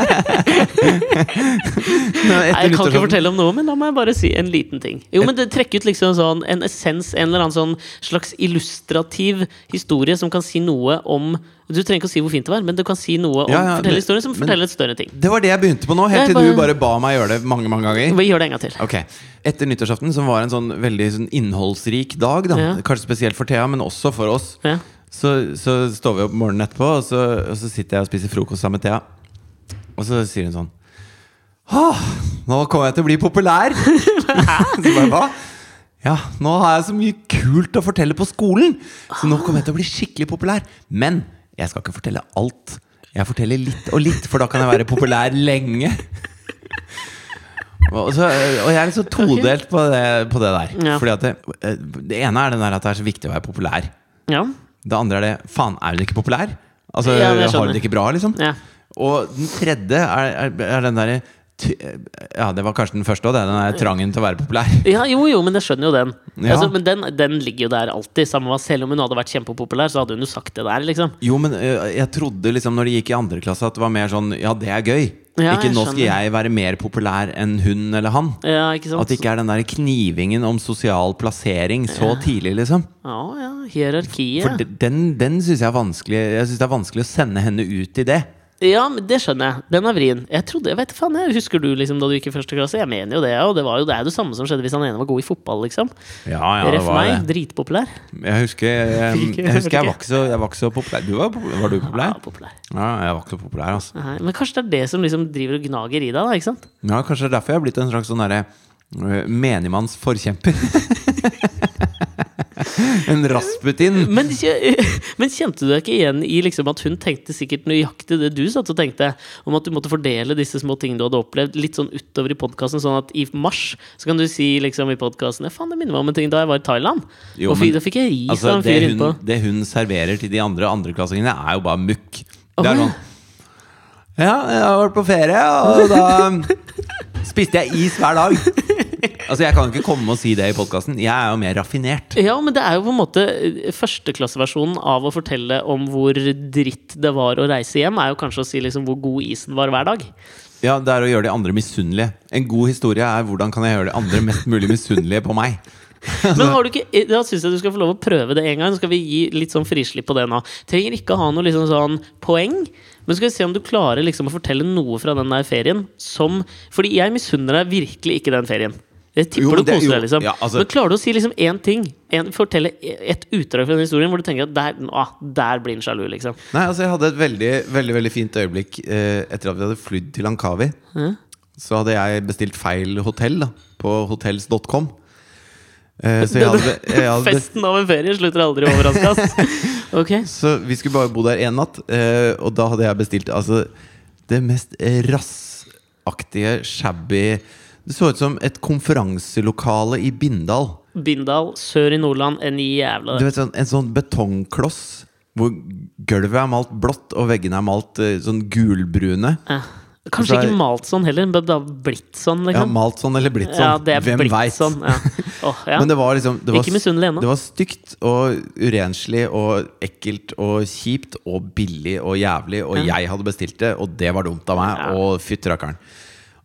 Nei, Nei, etter Jeg kan ikke nyttårsaften- fortelle om noe, men la meg bare si en liten ting. Jo, men det trekker ut liksom sånn en essens, en eller annen sånn slags illustrativ historie som kan si noe om Du trenger ikke å si hvor fint det var, men du kan si noe om Ja, ja, fortelle men- historien som men- forteller et større ting. Det var det jeg begynte på nå, helt Jeg til du bare- bare ba meg gjøre det mange mange ganger. Vi gjør det en gang til. Ok, Etter nyttårsaften, som var en sånn veldig sånn innholdsrik dag, da. Ja. kanskje spesielt for Thea, men også for oss, Ja. så, så står vi opp morgenen etterpå, og så, og så sitter jeg og spiser frokost sammen med Thea. Og så sier hun sånn Åh, nå kommer jeg til å bli populær! så bare, hva? Ja, nå har jeg så mye kult å fortelle på skolen! Så nå kommer jeg til å bli skikkelig populær. Men jeg skal ikke fortelle alt. Jeg forteller litt og litt, for da kan jeg være populær lenge. Og, så, og jeg er litt så todelt på, det, på det der. Ja. Fordi at det, eh, det ene er den der at det er så viktig å være populær. Ja. Det andre er det Faen, er hun ikke populær? Altså, Ja, men jeg Har skjønner. hun det ikke bra, liksom? Ja. Og den tredje er, er, er den derre ty- Ja, det var kanskje den første òg, den der trangen til å være populær. ja, jo jo, men jeg skjønner jo den. Ja. Altså, men den, den ligger jo der alltid. Samme hva, selv om hun hadde vært kjempepopulær, så hadde hun jo sagt det der, liksom. Jo, men ø, jeg trodde liksom når det gikk i andre klasse at det var mer sånn Ja, det er gøy. Ja, ikke jeg nå skal skjønner. jeg være mer populær enn hun eller han. Ja, ikke sant? At det ikke er den der knivingen om sosial plassering så tidlig, liksom. Ja, ja. Hierarkiet. For de- den, den syns jeg er vanskelig Jeg synes det er vanskelig å sende henne ut i det. Ja, men det skjønner jeg. Den er vrien. Jeg trodde, jeg vet faen, jeg husker du liksom da du gikk i første klasse? Jeg mener jo det, og det var jo det, er jo det samme som skjedde hvis han ene var god i fotball, liksom. Ja, Ref meg, dritpopulær. Jeg husker jeg, Fikk- jeg, husker jeg, fikk- var, ikke så, jeg var ikke så populær. Du var, popu- var du Ja, populær? populær. Ja, jeg var ikke så populær, altså. Nei, men kanskje det er det som liksom driver og gnager i deg, da, ikke sant? Ja, kanskje det er derfor jeg har blitt en slags sånn derre ø, menigmannsforkjemper. en Rasputin. Men, kje- men kjente du deg ikke igjen i liksom at hun tenkte sikkert nøyaktig det du satt og tenkte, om at du måtte fordele disse små tingene du hadde opplevd, litt sånn utover i podkasten, sånn at i mars så kan du si liksom i podkasten Faen, det minner meg om en ting da jeg var i Thailand. Jo, og fy, men- da fikk jeg ris Altså, av en det, fyr hun, innpå. det hun serverer til de andre andreklassingene, er jo bare mukk. Det Åh, er ja. sånn Ja, jeg har vært på ferie, og da spiste jeg is hver dag. Altså, Jeg kan ikke komme og si det i podkasten. Jeg er jo mer raffinert. Ja, men det er jo på en måte eh, førsteklasseversjonen av å fortelle om hvor dritt det var å reise hjem, er jo kanskje å si liksom hvor god isen var hver dag. Ja, Det er å gjøre de andre misunnelige. En god historie er hvordan kan jeg gjøre de andre mest mulig misunnelige på meg. Men har du ikke, eh, da syns jeg du skal få lov å prøve det en gang. Så skal vi gi litt sånn frislipp på det nå. Trenger ikke ha noe liksom sånn poeng, men skal vi se om du klarer liksom å fortelle noe fra den der ferien som Fordi jeg misunner deg virkelig ikke den ferien. Jeg Jo, tipper men du det- koser jo, deg, liksom. ja, altså- men klarer du å si liksom én ting? En, fortelle e, et utdrag fra den historien hvor du tenker at der, ah, der blir han sjalu, liksom. Nei, altså Jeg hadde et veldig veldig, veldig fint øyeblikk eh, etter at vi hadde flydd til Lankawi. Så hadde jeg bestilt feil hotell da på hotels.com. Eh, så jeg hadde, jeg hadde bestilt Festen av en ferie slutter aldri å overraske oss. Ok. Så vi skulle bare bo der en natt eh, Og da hadde jeg bestilt altså, Det mest rassaktige Shabby Det så ut som et konferanselokale i Bindal Bindal, sør i Nordland, en jævla Du vet sånn, En sånn betongkloss Hvor gulvet er malt blått Og veggene er malt eh, sånn gulbrune Eh, Altså, Kanskje jeg- ikke malt sånn heller, men det har blitt sånn. Ja, Liksom. malt sånn eller blitt sånn Ja, det er Hvem blitt vet? sånn. Ja. Åh, ja. Men det var liksom det var, Ikke misunnelig ennå. Det var stygt og urenslig og ekkelt og kjipt og billig og jævlig, og jeg hadde bestilt det, og det var dumt av meg, Ja. og fytti rakkeren.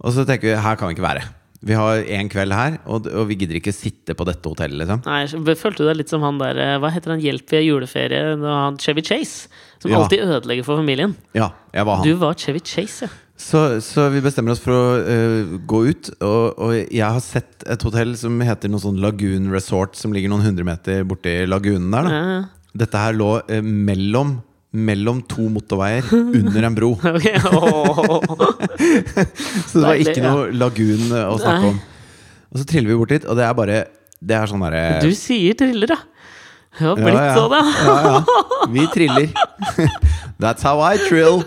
Og så tenker vi her kan vi ikke være. Vi har én kveld her, og, og vi gidder ikke sitte på dette hotellet, liksom. Nei, så følte du deg litt som han der eh, Hva heter han hjelp ved juleferie? Nå har han Chevy Chase, som Ja. alltid ødelegger for familien. Ja, jeg var han. Du var Chevy Chase, ja. Så, så vi bestemmer oss for å eh, gå ut. Og, og jeg har sett et hotell som heter noe sånn Lagoon Resort, som ligger noen hundre meter borti lagunen der. Da. Ja, ja. Dette her lå eh, mellom, mellom to motorveier under en bro. Ok, åh. Så det var Deilig, ikke noe lagun eh, å snakke om. Og så triller vi bort dit, og det er bare Det er sånn derre Du sier thriller, da. Det har Ja, blitt ja. sånn, ja. Ja, ja. Vi triller. That's how I trill.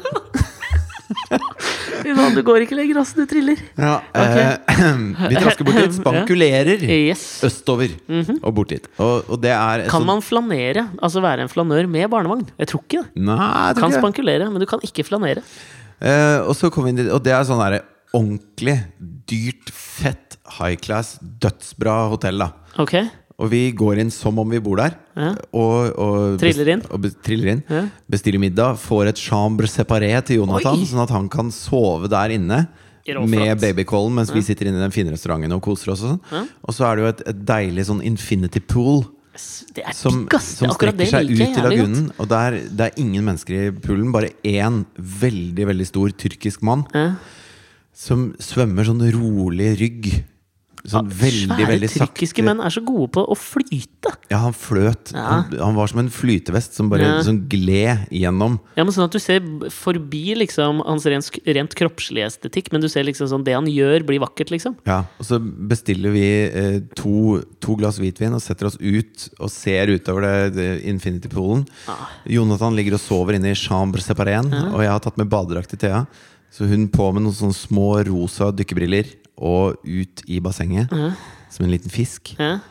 Fy faen, Du går ikke lenger, ass. Du triller. Ja, eh, vi trasker bort dit. Spankulerer Yes. østover og bort dit. Og, og det er et Mhm. sånn- Kan sånt- man flanere? Altså være en flanør med barnevogn? Jeg tror ikke det. Nei, jeg tror Kan ikke det. spankulere, men du kan ikke flanere. Eh, og så kom vi inn dit, og det er sånn derre ordentlig dyrt, fett, high class, dødsbra hotell, da. Ok? Og vi går inn som om vi bor der. Ja. Og, og Triller inn. Og be, triller inn Ja. Bestiller middag. Får et chambre separé til Jonathan, Oi. sånn at han kan sove der inne. Råflott. Med babycallen mens vi sitter inne i den fine restauranten og koser oss. Og sånn Og så er det jo et, et deilig sånn infinity pool Det er som, digg, ass. som Akkurat strekker det seg liker ut jeg i jævlig godt. lagunen. Og der, det er ingen mennesker i poolen, bare én veldig veldig stor tyrkisk mann Ja. som svømmer sånn rolig rygg. Sånn veldig, veldig Ah, Svære tyrkiske sakte. menn er så gode på å flyte. Ja, han fløt. Ja. Han, han var som en flytevest som bare Ja. sånn gled gjennom. Ja, men sånn at Du ser b- forbi liksom hans rent, sk- rent kroppslige estetikk, men du ser liksom sånn det han gjør, blir vakkert. liksom Ja, og så bestiller vi eh, to, to glass hvitvin og setter oss ut og ser utover det, det Infinity Poolen. Ah. Jonathan ligger og sover inne i chambre separén, og jeg har tatt med badedrakt til Thea. Så hun på med noen sånne små rosa dykkebriller og ut i bassenget som en liten fisk. ja.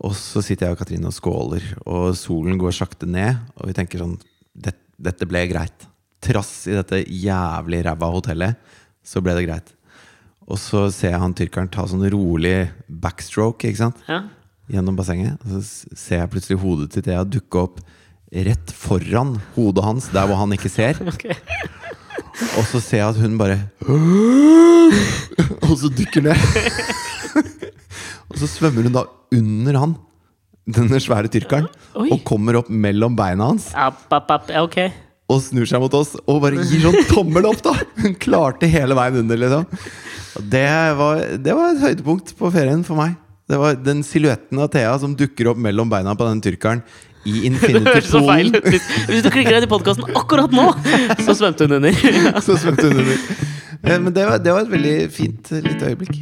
Og så sitter jeg og Katrine og skåler, og solen går sakte ned. Og vi tenker sånn det, Dette ble greit. Trass i dette jævlig ræva hotellet, så ble det greit. Og så ser jeg han tyrkeren ta sånn rolig backstroke ikke sant? Ja. gjennom bassenget. Og så s- ser jeg plutselig hodet til Thea dukke opp rett foran hodet hans, der hvor han ikke ser. Ok. Og så ser jeg at hun bare Og så dykker ned. og så svømmer hun da under han, denne svære tyrkeren, Oi. og kommer opp mellom beina hans App, app, app. Ja, ok. og snur seg mot oss og bare gir sånn tommel opp, da! Hun klarte hele veien under, liksom. Og Det var, det var et høydepunkt på ferien for meg. Det var den silhuetten av Thea som dukker opp mellom beina på den tyrkeren i Det høres så feil Infinity-poolen. ut. Hvis hvis du klikker deg til podkasten akkurat nå, så svømte hun under. Ja. Så svømte hun under. Eh, Men det var, det var et veldig fint eh, lite øyeblikk.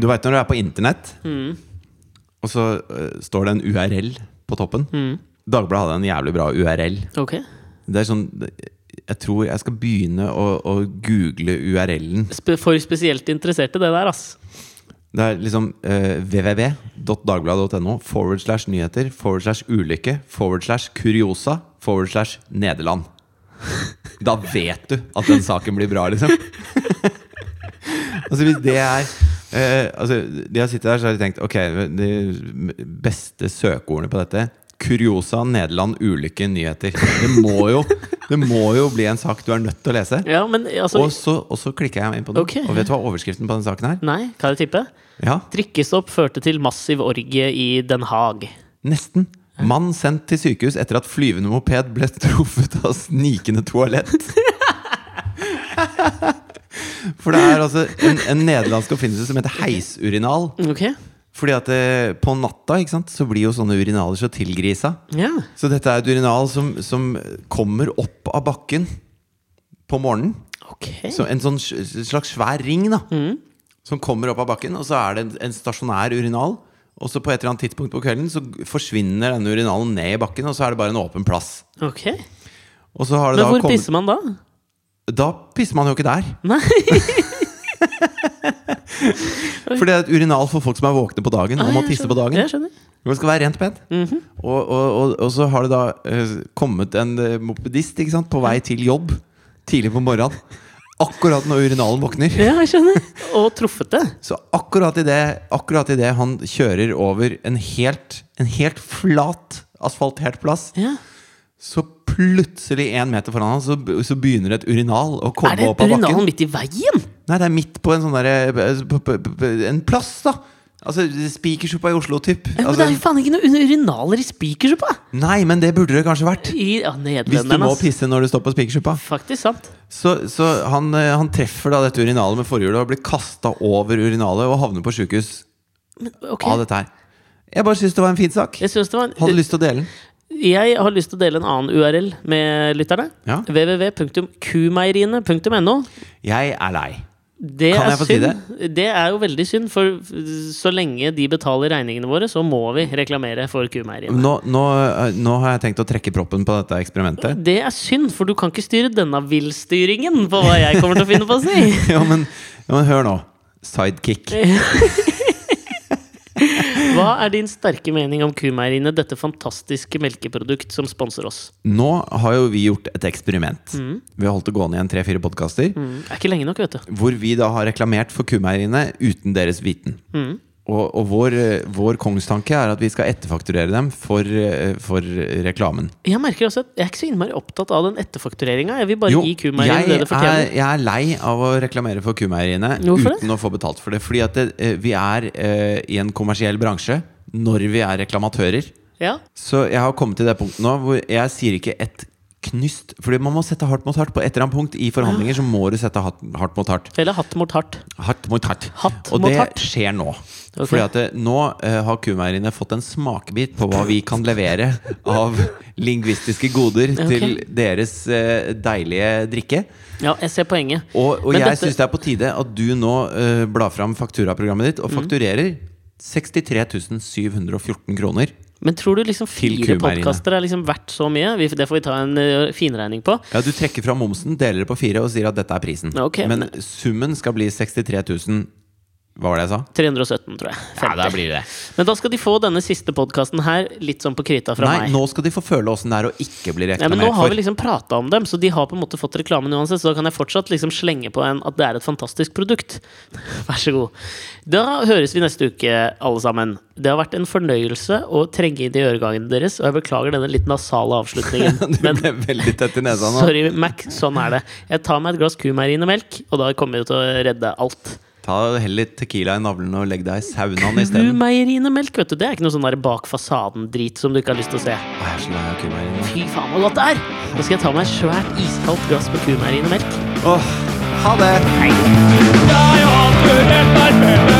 Du veit når du er på internett, og så eh, står det en URL på toppen. Dagbladet hadde en jævlig bra URL. Ok. Det er sånn Jeg tror jeg skal begynne å, å google URL-en. Spe- For spesielt interesserte, det der, ass. Det er liksom eh, www.dagbladet.no forward slash nyheter forward slash ulykke forward slash kuriosa forward slash Nederland. Da vet du at den saken blir bra, liksom. altså hvis det er eh, altså, De har sittet der så har de tenkt Ok, de beste søkeordene på dette Kuriosa, Nederland, ulykke, nyheter Det må jo, det må jo bli en sak du er nødt til å lese Ja, men altså og, så, og så klikker jeg inn på den Ok. Og vet du hva overskriften på den saken her? Nei, kan jeg tippe? Ja, Drikkestopp førte til massiv orgie i Den Haag. nesten Mann sendt til sykehus etter at flyvende moped ble truffet av snikende toalett For det er altså en, en nederlandsk oppfinnelse som heter heisurinal Ok, Fordi at eh, på natta ikke sant, så blir jo sånne urinaler så tilgrisa. ja. Så dette er et urinal som, som kommer opp av bakken på morgenen. Ok. Så en sånn sj- slags svær ring da Mm. som kommer opp av bakken. Og så er det en, en stasjonær urinal. Og så på et eller annet tidspunkt på kvelden så g- forsvinner denne urinalen ned i bakken, og så er det bare en åpen plass. Ok. Og så har det Men hvor da kommet pisser man da? Da pisser man jo ikke der. Nei. For det er et urinal for folk som er våkne på dagen og må jeg tisse på skjønner. Mhm. dagen. Jeg skjønner. Det skal være rent pent. og, og, og, og så har det da eh, kommet en eh, mopedist ikke sant, på vei til jobb tidlig på morgenen. Akkurat når urinalen våkner. Ja, jeg skjønner. Og truffet det. Så akkurat idet akkurat i det han kjører over en helt, en helt flat asfaltert plass, Ja. så plutselig én meter foran han, så, b- så begynner et urinal å komme Er det opp av bakken. urinalen midt i veien? Nei, det er midt på en sånn derre p- p- p- p- En plass, da! Altså Spikersuppa i Oslo, typ. Ja, men det er jo Altså, faen ikke noen urinaler i spikersuppa! nei, men det burde det kanskje vært. I ja, Hvis du Nederlenderne, må ass. pisse når du står på Spikersuppa. Faktisk sant. Så, så han, eh, han treffer da dette urinalet med forhjulet og blir kasta over urinalet og havner på sjukehus Ok. Eh, av dette her. Jeg bare syns det var en fin sak. Jeg, synes det var Hadde en, lyst til å dele den. jeg har lyst til å dele en annen URL med lytterne. Ja. www.kumeieriene.no. Jeg er lei. Det Kan jeg er få si synd. Det er jo veldig synd, for så lenge de betaler regningene veiene våre, så må vi reklamere for kumeieriene. Nå, nå, eh, nå har jeg tenkt å trekke proppen på dette eksperimentet. Det er synd, for du kan ikke styre denne villstyringen på hva jeg kommer til å finne på å si. Ja, men, ja, men hør nå. Sidekick. Hva er din sterke mening om kumeieriene, dette fantastiske melkeprodukt som sponser oss? Nå har jo vi gjort et eksperiment. Vi har holdt det gående i en tre-fire podkaster. Det er ikke lenge nok, vet du. Hvor vi da har reklamert for kumeieriene uten deres viten. Og, og vår, eh, vår kongstanke er at vi skal etterfakturere dem for, eh, for reklamen. Jeg merker også at jeg er ikke så innmari opptatt av den etterfaktureringa. Jeg vil bare Jo, gi jeg kumeieriene det det er, fortjener. jeg er lei av å reklamere for kumeieriene Hvorfor det? uten å få betalt for det. Fordi at det, eh, vi er eh, i en kommersiell bransje når vi er reklamatører. Ja. Så jeg har kommet til det punktet nå hvor jeg sier ikke et knyst. Fordi man må sette hardt mot hardt. På et eller annet punkt i forhandlinger så må du sette hardt, hardt mot hardt. Eller hatt mot hardt. Hardt mot hardt. Hatt Og mot det hardt. skjer nå. Fordi at det, nå eh, har kumeieriene fått en smakebit på hva vi kan levere av lingvistiske goder til deres eh, deilige drikke. Ja, jeg ser poenget. Og, og Men jeg dette- syns det er på tide at du nå eh, blar fram fakturaprogrammet ditt og Mm. fakturerer 63 714 kroner. Men tror du liksom Til fire kumeieriene. podkaster er liksom verdt så mye? Vi- Det får vi ta en ø, finregning på. Ja, Du trekker fra momsen, deler det på fire og sier at dette er prisen. Ok, men summen skal bli 63 000 Hva var det jeg sa? 317, tror jeg. 50. blir det. Men da skal de få denne siste podkasten her litt sånn på krita fra Nei, meg. nå skal de få føle åssen det er å ikke bli Ja, reklamert men nå har for. vi liksom prata om dem, så de har på en måte fått reklamen uansett. Så da kan jeg fortsatt liksom slenge på en at det er et fantastisk produkt. Vær så god. Da høres vi neste uke, alle sammen. Det har vært en fornøyelse å trenge inn i øregangene deres, og jeg beklager denne litt nasale avslutningen. Du Men ble veldig tett i nesa nå. sorry, Mac, sånn er det. Jeg tar meg et glass kumeirin og melk, og da kommer jeg til å redde alt. Ta Hell litt Tequila i navlen og legg deg i saunaen isteden. Kumeirin og melk, vet du, det er ikke noe sånn der bak fasaden-drit som du ikke har lyst til å se. Å, jeg er så lei av kumeieren nå. Fy faen, hvor godt det er! Nå skal jeg ta meg et svært iskaldt glass med kumeirin og melk. Åh, Ha det! Jeg hater Frp.